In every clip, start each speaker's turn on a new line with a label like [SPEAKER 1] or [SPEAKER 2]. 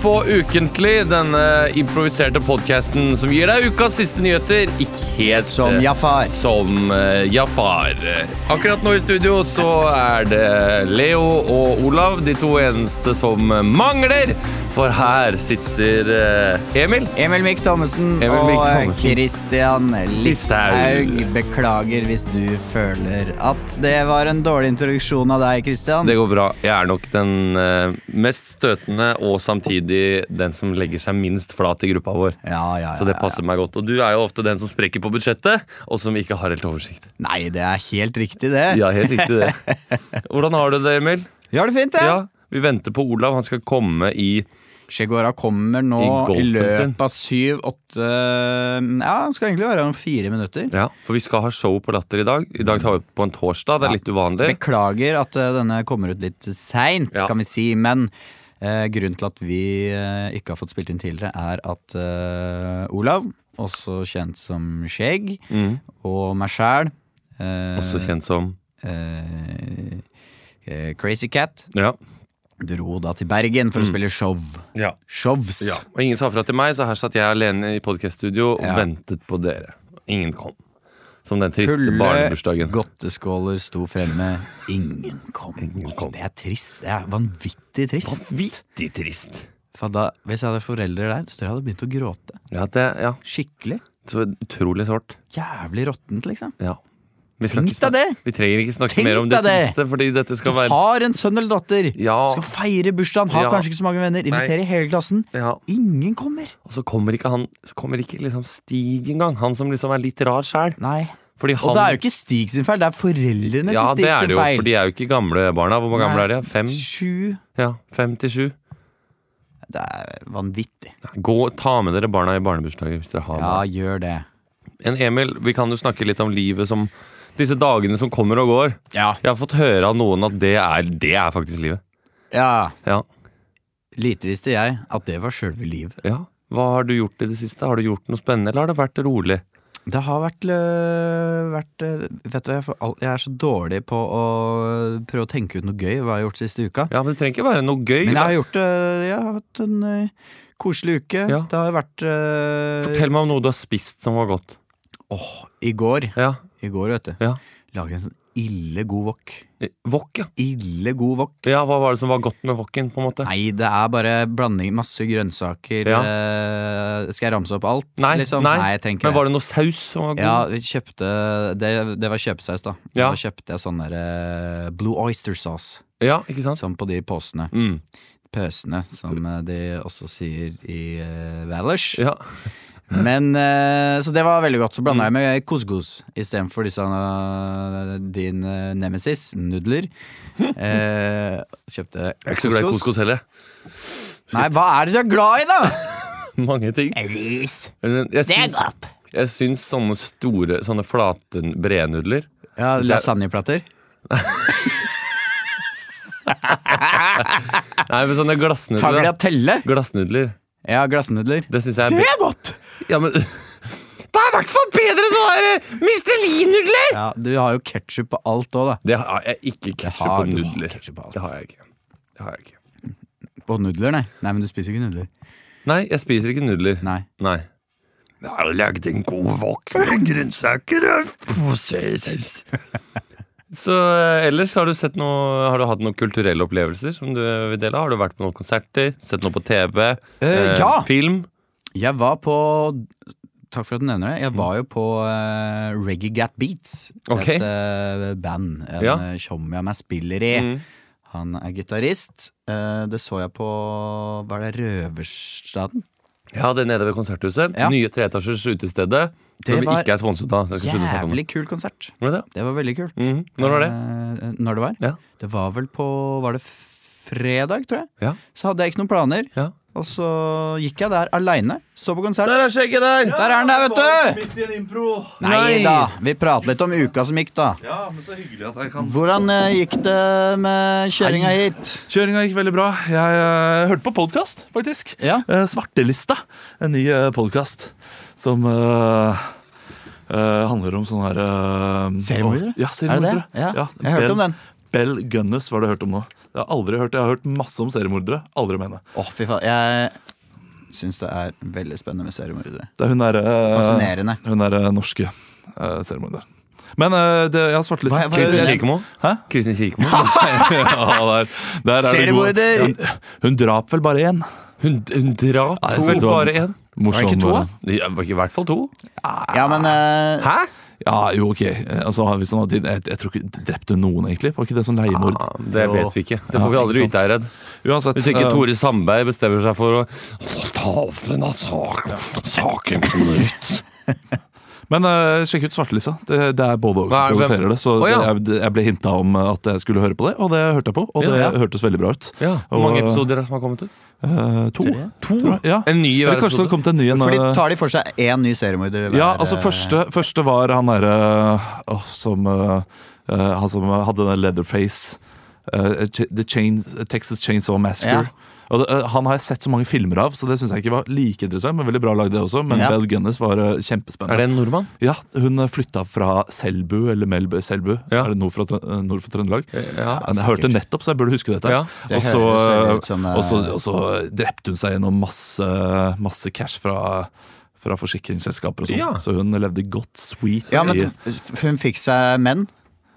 [SPEAKER 1] på Ukentlig, denne improviserte podkasten som gir deg ukas siste nyheter. Ikke helt
[SPEAKER 2] Som
[SPEAKER 1] eh,
[SPEAKER 2] Jafar.
[SPEAKER 1] som eh, Jafar. Akkurat nå i studio så er det Leo og Olav, de to eneste som mangler. For her sitter eh, Emil.
[SPEAKER 2] Emil Mikk Thommessen
[SPEAKER 1] Emil Mikk
[SPEAKER 2] og
[SPEAKER 1] Thommessen.
[SPEAKER 2] Christian Listhaug.
[SPEAKER 1] Listhaug.
[SPEAKER 2] Beklager hvis du føler at det var en dårlig introduksjon av deg, Christian.
[SPEAKER 1] Det går bra. Jeg er nok den eh, mest støtende og samtidig den som legger seg minst flat i gruppa vår.
[SPEAKER 2] Ja, ja, ja,
[SPEAKER 1] Så det
[SPEAKER 2] ja,
[SPEAKER 1] passer meg godt. Og du er jo ofte den som sprekker på budsjettet, og som ikke har helt oversikt.
[SPEAKER 2] ja. Nei, det er helt riktig, det.
[SPEAKER 1] Ja, helt riktig det. Hvordan har du det, Emil?
[SPEAKER 2] Gjør det fint, det.
[SPEAKER 1] Ja, Vi venter på Olav. Han skal komme i
[SPEAKER 2] Sjegora kommer nå
[SPEAKER 1] I
[SPEAKER 2] i,
[SPEAKER 1] golfen sin.
[SPEAKER 2] løpet av syv-åtte Ja, han skal egentlig være om fire minutter.
[SPEAKER 1] Ja, for vi skal ha show på Latter i dag. I dag tar vi på en torsdag. Det er litt uvanlig.
[SPEAKER 2] Beklager at eh, denne kommer ut litt seint,
[SPEAKER 1] Ja.
[SPEAKER 2] kan vi si. Men eh, grunnen til at vi eh, ikke har fått spilt inn tidligere, er at eh, Olav, også kjent som Skjegg,
[SPEAKER 1] Mm.
[SPEAKER 2] og meg sjæl eh,
[SPEAKER 1] Også kjent som
[SPEAKER 2] eh, eh, Crazy Cat
[SPEAKER 1] Ja.
[SPEAKER 2] dro da til Bergen for å spille show.
[SPEAKER 1] Mm. ja.
[SPEAKER 2] Shows.
[SPEAKER 1] Og ingen sa fra til meg, så her satt jeg alene i podkaststudio og
[SPEAKER 2] Ja.
[SPEAKER 1] ventet på dere. Ingen kom. Som den triste
[SPEAKER 2] Fulle
[SPEAKER 1] barnebursdagen.
[SPEAKER 2] godteskåler sto fremme. Ingen kom.
[SPEAKER 1] kom.
[SPEAKER 2] Det er trist. Det er vanvittig trist.
[SPEAKER 1] Vittig trist.
[SPEAKER 2] For da, hvis jeg hadde foreldre der, så hadde jeg begynt å gråte.
[SPEAKER 1] Ja, det, ja.
[SPEAKER 2] Skikkelig.
[SPEAKER 1] Så utrolig sårt.
[SPEAKER 2] Jævlig råttent, liksom.
[SPEAKER 1] Ja. Vi, skal
[SPEAKER 2] Tenk deg
[SPEAKER 1] ikke snakke,
[SPEAKER 2] det!
[SPEAKER 1] vi trenger ikke snakke
[SPEAKER 2] Tenk
[SPEAKER 1] mer om det
[SPEAKER 2] deg det!
[SPEAKER 1] triste, fordi dette
[SPEAKER 2] Du
[SPEAKER 1] skal være
[SPEAKER 2] har en sønn eller datter.
[SPEAKER 1] Ja.
[SPEAKER 2] Skal feire bursdagen, har
[SPEAKER 1] Ja.
[SPEAKER 2] kanskje ikke så mange venner. Inviterer hele klassen.
[SPEAKER 1] ja.
[SPEAKER 2] Ingen kommer.
[SPEAKER 1] Og så kommer ikke han Så kommer ikke liksom Stig engang. Han som liksom er litt rar sjæl.
[SPEAKER 2] Nei.
[SPEAKER 1] Fordi
[SPEAKER 2] Og
[SPEAKER 1] han
[SPEAKER 2] det er jo ikke Stig sin feil, det er foreldrene
[SPEAKER 1] Ja,
[SPEAKER 2] til
[SPEAKER 1] det
[SPEAKER 2] Stig
[SPEAKER 1] er det
[SPEAKER 2] sin
[SPEAKER 1] jo,
[SPEAKER 2] feil.
[SPEAKER 1] for de er jo ikke gamle barna. Hvor mange gamle er de?
[SPEAKER 2] Nei,
[SPEAKER 1] Fem?
[SPEAKER 2] Sju.
[SPEAKER 1] Ja, fem til sju.
[SPEAKER 2] Det er vanvittig.
[SPEAKER 1] Gå, Ta med dere barna i barnebursdager hvis dere har
[SPEAKER 2] Ja,
[SPEAKER 1] barn.
[SPEAKER 2] gjør det.
[SPEAKER 1] En Emil, vi kan jo snakke litt om livet som Disse dagene som kommer og går.
[SPEAKER 2] Ja.
[SPEAKER 1] Jeg har fått høre av noen at det er, det er faktisk livet.
[SPEAKER 2] ja.
[SPEAKER 1] Ja,
[SPEAKER 2] Lite visste jeg at det var sjølve liv.
[SPEAKER 1] ja. Hva har du gjort i det siste? Har du gjort noe spennende, eller har det vært rolig?
[SPEAKER 2] Det har vært, lø, vært øh, Vet du, jeg, får al- jeg er så dårlig på å prøve å tenke ut noe gøy hva jeg har gjort siste uka.
[SPEAKER 1] Ja, men Det trenger ikke være noe gøy.
[SPEAKER 2] Men jeg
[SPEAKER 1] da.
[SPEAKER 2] har gjort øh, Jeg har hatt en øh, koselig uke.
[SPEAKER 1] Ja.
[SPEAKER 2] Det har vært øh,
[SPEAKER 1] Fortell meg om noe du har spist som var godt.
[SPEAKER 2] Åh, I går,
[SPEAKER 1] Ja,
[SPEAKER 2] i går vet du,
[SPEAKER 1] ja.
[SPEAKER 2] laget jeg en sånn ille god wok.
[SPEAKER 1] Eh, Wok, ja.
[SPEAKER 2] Ille god wok.
[SPEAKER 1] ja. Hva var det som var godt med woken? på en måte?
[SPEAKER 2] Nei, det er bare blanding. Masse grønnsaker.
[SPEAKER 1] Ja.
[SPEAKER 2] øh, skal jeg ramse opp alt?
[SPEAKER 1] Nei,
[SPEAKER 2] liksom?
[SPEAKER 1] nei.
[SPEAKER 2] jeg trenger ikke
[SPEAKER 1] Men var det noe saus som var god?
[SPEAKER 2] Ja, vi kjøpte Det, det var kjøpesaus, da. Da
[SPEAKER 1] Ja.
[SPEAKER 2] kjøpte jeg sånn der eh, Blue Oyster Sauce.
[SPEAKER 1] Ja, ikke sant?
[SPEAKER 2] Som på de posene.
[SPEAKER 1] Mm.
[SPEAKER 2] Pøsene, som eh, de også sier i uh, Valers.
[SPEAKER 1] Ja. Mm.
[SPEAKER 2] Men eh, Så det var veldig godt. Så blanda jeg med couscous istedenfor disse eh, din eh, nemesis, nudler. Eh, kjøpte
[SPEAKER 1] Jeg er ikke så glad i
[SPEAKER 2] couscous.
[SPEAKER 1] couscous heller.
[SPEAKER 2] Nei, hva er det du er glad i, da?!
[SPEAKER 1] Mange ting.
[SPEAKER 2] Ris.
[SPEAKER 1] Men Jeg syns,
[SPEAKER 2] godt.
[SPEAKER 1] jeg syns sånne store, sånne flate brednudler
[SPEAKER 2] Ja,
[SPEAKER 1] Synes jeg-
[SPEAKER 2] Lasagneplater.
[SPEAKER 1] Nei, men sånne glassnudler. da.
[SPEAKER 2] Tagliatelle.
[SPEAKER 1] Glassnudler.
[SPEAKER 2] Ja, glassnudler.
[SPEAKER 1] Det syns jeg er
[SPEAKER 2] er godt!
[SPEAKER 1] be- Ja, men Det er i hvert fall bedre enn sånne eh, Mistelin-nudler!
[SPEAKER 2] Ja, du har jo ketsjup på alt òg, da.
[SPEAKER 1] Det har jeg ikke
[SPEAKER 2] Det
[SPEAKER 1] ketsjup
[SPEAKER 2] har-
[SPEAKER 1] på
[SPEAKER 2] du har
[SPEAKER 1] nudler.
[SPEAKER 2] ketchup på alt.
[SPEAKER 1] Det har jeg ikke. Det har jeg ikke.
[SPEAKER 2] På nudler, nei. Nei, men du spiser jo ikke nudler.
[SPEAKER 1] Nei, jeg spiser ikke nudler.
[SPEAKER 2] Nei.
[SPEAKER 1] Nei. Jeg har lagd en god wok med grønnsaker og posesaus. Så eh, ellers har du sett noe Har du hatt noen kulturelle opplevelser som du vil dele? av? Har du vært på noen konserter? Sett noe på TV?
[SPEAKER 2] Eh, ja!
[SPEAKER 1] Film?
[SPEAKER 2] Jeg var på Takk for at du nevner det. Jeg var jo på eh, Reggae Gat Beats.
[SPEAKER 1] Ok.
[SPEAKER 2] Et eh, band. En
[SPEAKER 1] Ja.
[SPEAKER 2] eh, tjommi av meg spiller i.
[SPEAKER 1] Mm.
[SPEAKER 2] Han er gitarist. Eh, det så jeg på Var det Røverstaden?
[SPEAKER 1] Ja, det er nede ved konserthuset.
[SPEAKER 2] Ja.
[SPEAKER 1] Nye treetasjers utestedet.
[SPEAKER 2] Det
[SPEAKER 1] Som vi
[SPEAKER 2] var
[SPEAKER 1] ikke er sponset av. så jeg skal slutte å snakke om det.
[SPEAKER 2] Jævlig kul konsert.
[SPEAKER 1] Var det det?
[SPEAKER 2] Det var veldig kult.
[SPEAKER 1] Mhm. Når var det?
[SPEAKER 2] Eh, når det var?
[SPEAKER 1] Ja.
[SPEAKER 2] Det var vel på Var det fredag, tror jeg?
[SPEAKER 1] Ja.
[SPEAKER 2] Så hadde jeg ikke noen planer.
[SPEAKER 1] ja.
[SPEAKER 2] Og så gikk jeg der aleine. Så på konsert.
[SPEAKER 1] Der er skjegget der!
[SPEAKER 2] Der er den der, vet du!
[SPEAKER 3] Midt i en impro.
[SPEAKER 2] Nei da. Vi prater litt om uka som gikk, da.
[SPEAKER 3] Ja, men så hyggelig at jeg kan
[SPEAKER 2] Hvordan eh, gikk det med kjøringa hit?
[SPEAKER 3] Kjøringa gikk veldig bra. Jeg eh, hørte på podkast, faktisk.
[SPEAKER 2] Ja.
[SPEAKER 3] Eh, Svartelista. En ny uh, podkast som eh, eh, handler om sånne her eh,
[SPEAKER 2] Seriemordere? Er det
[SPEAKER 3] Ja,
[SPEAKER 2] det?
[SPEAKER 3] seriemordere.
[SPEAKER 2] Ja.
[SPEAKER 3] Ja,
[SPEAKER 2] Jeg hørte om den.
[SPEAKER 3] Bell Gunness var det jeg hørte om nå. Jeg har aldri hørt, jeg har hørt masse om seriemordere. Aldri om henne.
[SPEAKER 2] Å, fy faen. Jeg syns det er veldig spennende med seriemordere.
[SPEAKER 3] Det er hun der, eh,
[SPEAKER 2] Fascinerende.
[SPEAKER 3] Hun er eh, norske uh, seriemorderen. Men eh, det, jeg har svartelista.
[SPEAKER 2] Hva- hva-
[SPEAKER 3] Kristin
[SPEAKER 1] Kristin
[SPEAKER 3] Kirk-
[SPEAKER 1] Kirkemo?
[SPEAKER 3] Hæ?
[SPEAKER 1] Kristin Kirkemo?
[SPEAKER 3] ja, der, der er det god-
[SPEAKER 2] Seriemorder!
[SPEAKER 3] Ja, Hun drap vel bare én.
[SPEAKER 1] Hun, hun drap to,
[SPEAKER 3] Nei, jeg vet hva-
[SPEAKER 1] bare én. Var det
[SPEAKER 3] Morsom.
[SPEAKER 1] ikke to?
[SPEAKER 3] eh,
[SPEAKER 1] da? Det var ikke I hvert fall to.
[SPEAKER 2] Ja, men eh,
[SPEAKER 1] Hæ?
[SPEAKER 3] Ja, jo, ok. Eh, Altså, hvis han hadde, jeg, jeg tror ikke Drepte hun noen, egentlig? Var ikke det sånn leiemord?
[SPEAKER 1] Ja, det
[SPEAKER 3] Jo.
[SPEAKER 1] vet vi ikke. Det
[SPEAKER 3] Ja,
[SPEAKER 1] får vi aldri vite,
[SPEAKER 3] ikke sant.
[SPEAKER 1] jeg er redd.
[SPEAKER 3] Uansett.
[SPEAKER 1] Hvis ikke
[SPEAKER 3] eh,
[SPEAKER 1] Tore Sandberg bestemmer seg for å ta opp denne saken, saken på nytt.
[SPEAKER 3] Men eh, sjekk ut svartelista. Det, det er både og
[SPEAKER 1] Hva er-
[SPEAKER 3] som provoserer det. Så
[SPEAKER 1] Å, ja.
[SPEAKER 3] det, jeg, jeg ble hinta om eh, at jeg skulle høre på det, og det hørte jeg på. Og
[SPEAKER 1] Ja,
[SPEAKER 3] det
[SPEAKER 1] ja.
[SPEAKER 3] hørtes veldig bra ut.
[SPEAKER 1] Ja, Hvor mange episoder er det som har kommet ut?
[SPEAKER 3] Eh, to.
[SPEAKER 1] Tre?
[SPEAKER 3] To? Ja.
[SPEAKER 1] En ny i hver
[SPEAKER 3] Eller kanskje det
[SPEAKER 1] episode?
[SPEAKER 3] har kommet en ny en.
[SPEAKER 2] For de
[SPEAKER 3] eh,
[SPEAKER 2] tar de for seg én ny seriemorder hver?
[SPEAKER 3] Ja, altså første, første var han derre åh, som eh, eh, Han som hadde den leatherface eh, Ch- The Chain, Texas Chainsaw Massacre.
[SPEAKER 2] Ja.
[SPEAKER 3] Og det, eh, han har jeg sett så mange filmer av, så det syns jeg ikke var like interessant. Men veldig bra lagd, det også. Men
[SPEAKER 2] Ja.
[SPEAKER 3] Bell Gunness var eh,
[SPEAKER 1] Er
[SPEAKER 3] kjempespennende.
[SPEAKER 1] det en nordmann?
[SPEAKER 3] Ja, Hun eh, flytta fra Selbu, eller Melbu Selbu,
[SPEAKER 1] Ja.
[SPEAKER 3] er det nord for, Tr- nord for Trøndelag?
[SPEAKER 1] Ja.
[SPEAKER 3] Men jeg hørte nettopp, så jeg burde huske dette.
[SPEAKER 1] Ja.
[SPEAKER 2] Det
[SPEAKER 3] og, så,
[SPEAKER 2] høres veldig ut som, eh,
[SPEAKER 3] og, så, og så drepte hun seg gjennom masse, masse cash fra, fra forsikringsselskaper og sånn.
[SPEAKER 1] Ja.
[SPEAKER 3] Så hun levde godt sweet.
[SPEAKER 2] eh, Ja, men
[SPEAKER 3] i-
[SPEAKER 2] f- hun fikk seg menn.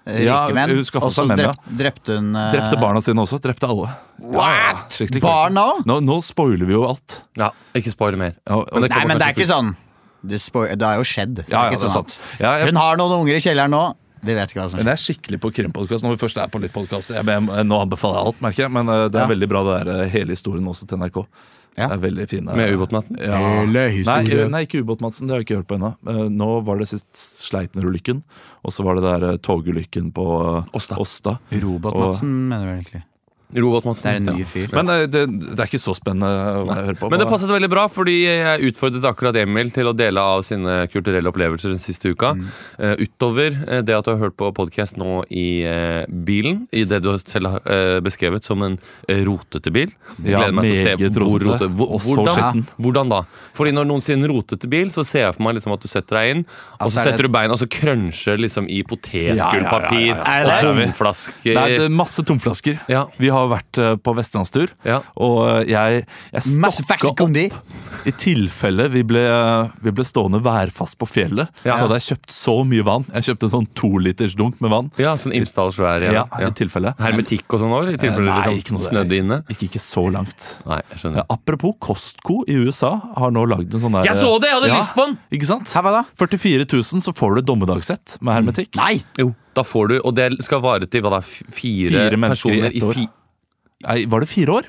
[SPEAKER 2] eh, Rike
[SPEAKER 3] Ja,
[SPEAKER 2] menn.
[SPEAKER 3] hun skaffet
[SPEAKER 2] Og så
[SPEAKER 3] seg menn, ja.
[SPEAKER 2] drep- drepte hun eh,
[SPEAKER 3] drepte barna sine også. Drepte alle.
[SPEAKER 2] What?
[SPEAKER 3] Skikkelig crazy.
[SPEAKER 2] Barna òg?
[SPEAKER 3] Nå, nå spoiler vi jo alt.
[SPEAKER 1] ja. Ikke spoil mer.
[SPEAKER 3] Ja, og-
[SPEAKER 1] Men det
[SPEAKER 2] Nei,
[SPEAKER 1] kommer
[SPEAKER 2] men det er
[SPEAKER 1] kanskje
[SPEAKER 2] ikke sånn. Det, spoil, det har jo skjedd. Det er
[SPEAKER 3] ja, ja,
[SPEAKER 2] ikke
[SPEAKER 3] det er
[SPEAKER 2] sånn
[SPEAKER 3] sant.
[SPEAKER 2] at-
[SPEAKER 3] Ja, jeg,
[SPEAKER 2] Hun har noen unger i kjelleren nå. Vi vet ikke hva som
[SPEAKER 3] men
[SPEAKER 2] skjer.
[SPEAKER 3] jeg er skikkelig på krimpodkast når vi først er på litt podkast. eh, Nå anbefaler jeg alt, merker jeg, men eh, det
[SPEAKER 2] Ja.
[SPEAKER 3] er veldig bra det der eh, hele historien også til NRK.
[SPEAKER 2] Ja.
[SPEAKER 3] Det er veldig fin. eh,
[SPEAKER 1] Med ubåtmatten?
[SPEAKER 3] Ja.
[SPEAKER 2] Hele
[SPEAKER 3] Nei, eh,
[SPEAKER 2] historien.
[SPEAKER 3] nei, ikke ubåt-Madsen. Det har jeg ikke hørt på ennå. Eh, Nå var det sist Sleipner-ulykken, og så var det der eh, togulykken på eh,
[SPEAKER 1] Åsta.
[SPEAKER 3] Åsta.
[SPEAKER 2] Robot-Madsen, mener du vel egentlig?
[SPEAKER 1] Robotmadsen.
[SPEAKER 2] Det er en
[SPEAKER 1] Ja.
[SPEAKER 2] ny fyr.
[SPEAKER 3] Men eh, det, det er ikke så spennende hva jeg hører på.
[SPEAKER 1] Men det passet veldig bra, fordi jeg utfordret akkurat Emil til å dele av sine kulturelle opplevelser den siste uka.
[SPEAKER 3] Mm.
[SPEAKER 1] Eh, utover eh, det at du har hørt på podkast nå i eh, bilen, i det du selv har eh, beskrevet som en eh, rotete bil. Jeg
[SPEAKER 3] Ja,
[SPEAKER 1] Gleder meg til å
[SPEAKER 3] meget
[SPEAKER 1] se hvor
[SPEAKER 3] rotete,
[SPEAKER 1] rote, hvor,
[SPEAKER 3] og så
[SPEAKER 1] hvordan,
[SPEAKER 3] skitten.
[SPEAKER 1] hvordan da? Fordi når noen sier en rotete bil, så ser jeg for meg liksom at du setter deg inn, og
[SPEAKER 2] Altså, er
[SPEAKER 1] så
[SPEAKER 2] det-
[SPEAKER 1] setter du beina, og så krønsjer liksom i
[SPEAKER 3] Ja, ja, ja,
[SPEAKER 1] potetgullpapir
[SPEAKER 3] ja, ja.
[SPEAKER 1] og
[SPEAKER 3] Er det det?
[SPEAKER 1] tomflasker.
[SPEAKER 3] Nei, det er masse tomflasker.
[SPEAKER 1] Ja.
[SPEAKER 3] Vi har vært eh, på vestlandstur,
[SPEAKER 1] Ja.
[SPEAKER 3] og eh, jeg, jeg
[SPEAKER 2] Masse facts i
[SPEAKER 3] stokka
[SPEAKER 2] kondi.
[SPEAKER 3] opp i tilfelle vi ble, vi ble stående værfast på fjellet.
[SPEAKER 1] Ja.
[SPEAKER 3] Så hadde jeg kjøpt så mye vann. Jeg kjøpte en sånn toliters dunk med vann.
[SPEAKER 1] Ja, sånn Imsdal svær.
[SPEAKER 3] Ja,
[SPEAKER 1] Ja.
[SPEAKER 3] i tilfelle.
[SPEAKER 1] Hermetikk og sånn òg? I tilfelle
[SPEAKER 3] Eh,
[SPEAKER 1] det
[SPEAKER 3] nei,
[SPEAKER 1] liksom
[SPEAKER 3] ikke noe-
[SPEAKER 1] snødde inne?
[SPEAKER 3] Gikk ikke så langt.
[SPEAKER 1] Nei, jeg skjønner.
[SPEAKER 3] Ja, apropos Costco i USA har nå lagd en sånn der
[SPEAKER 1] Jeg så det! Jeg hadde lyst på den!
[SPEAKER 3] Ikke sant?
[SPEAKER 2] Hæ, hva da?
[SPEAKER 3] 44 000, så får du et dommedagssett med hermetikk.
[SPEAKER 2] Nei!
[SPEAKER 1] Jo, da får du, og det skal vare til hva da, f- fire,
[SPEAKER 3] Fire mennesker i
[SPEAKER 1] personer
[SPEAKER 3] ett år.
[SPEAKER 1] fi-
[SPEAKER 3] Nei, var det fire år?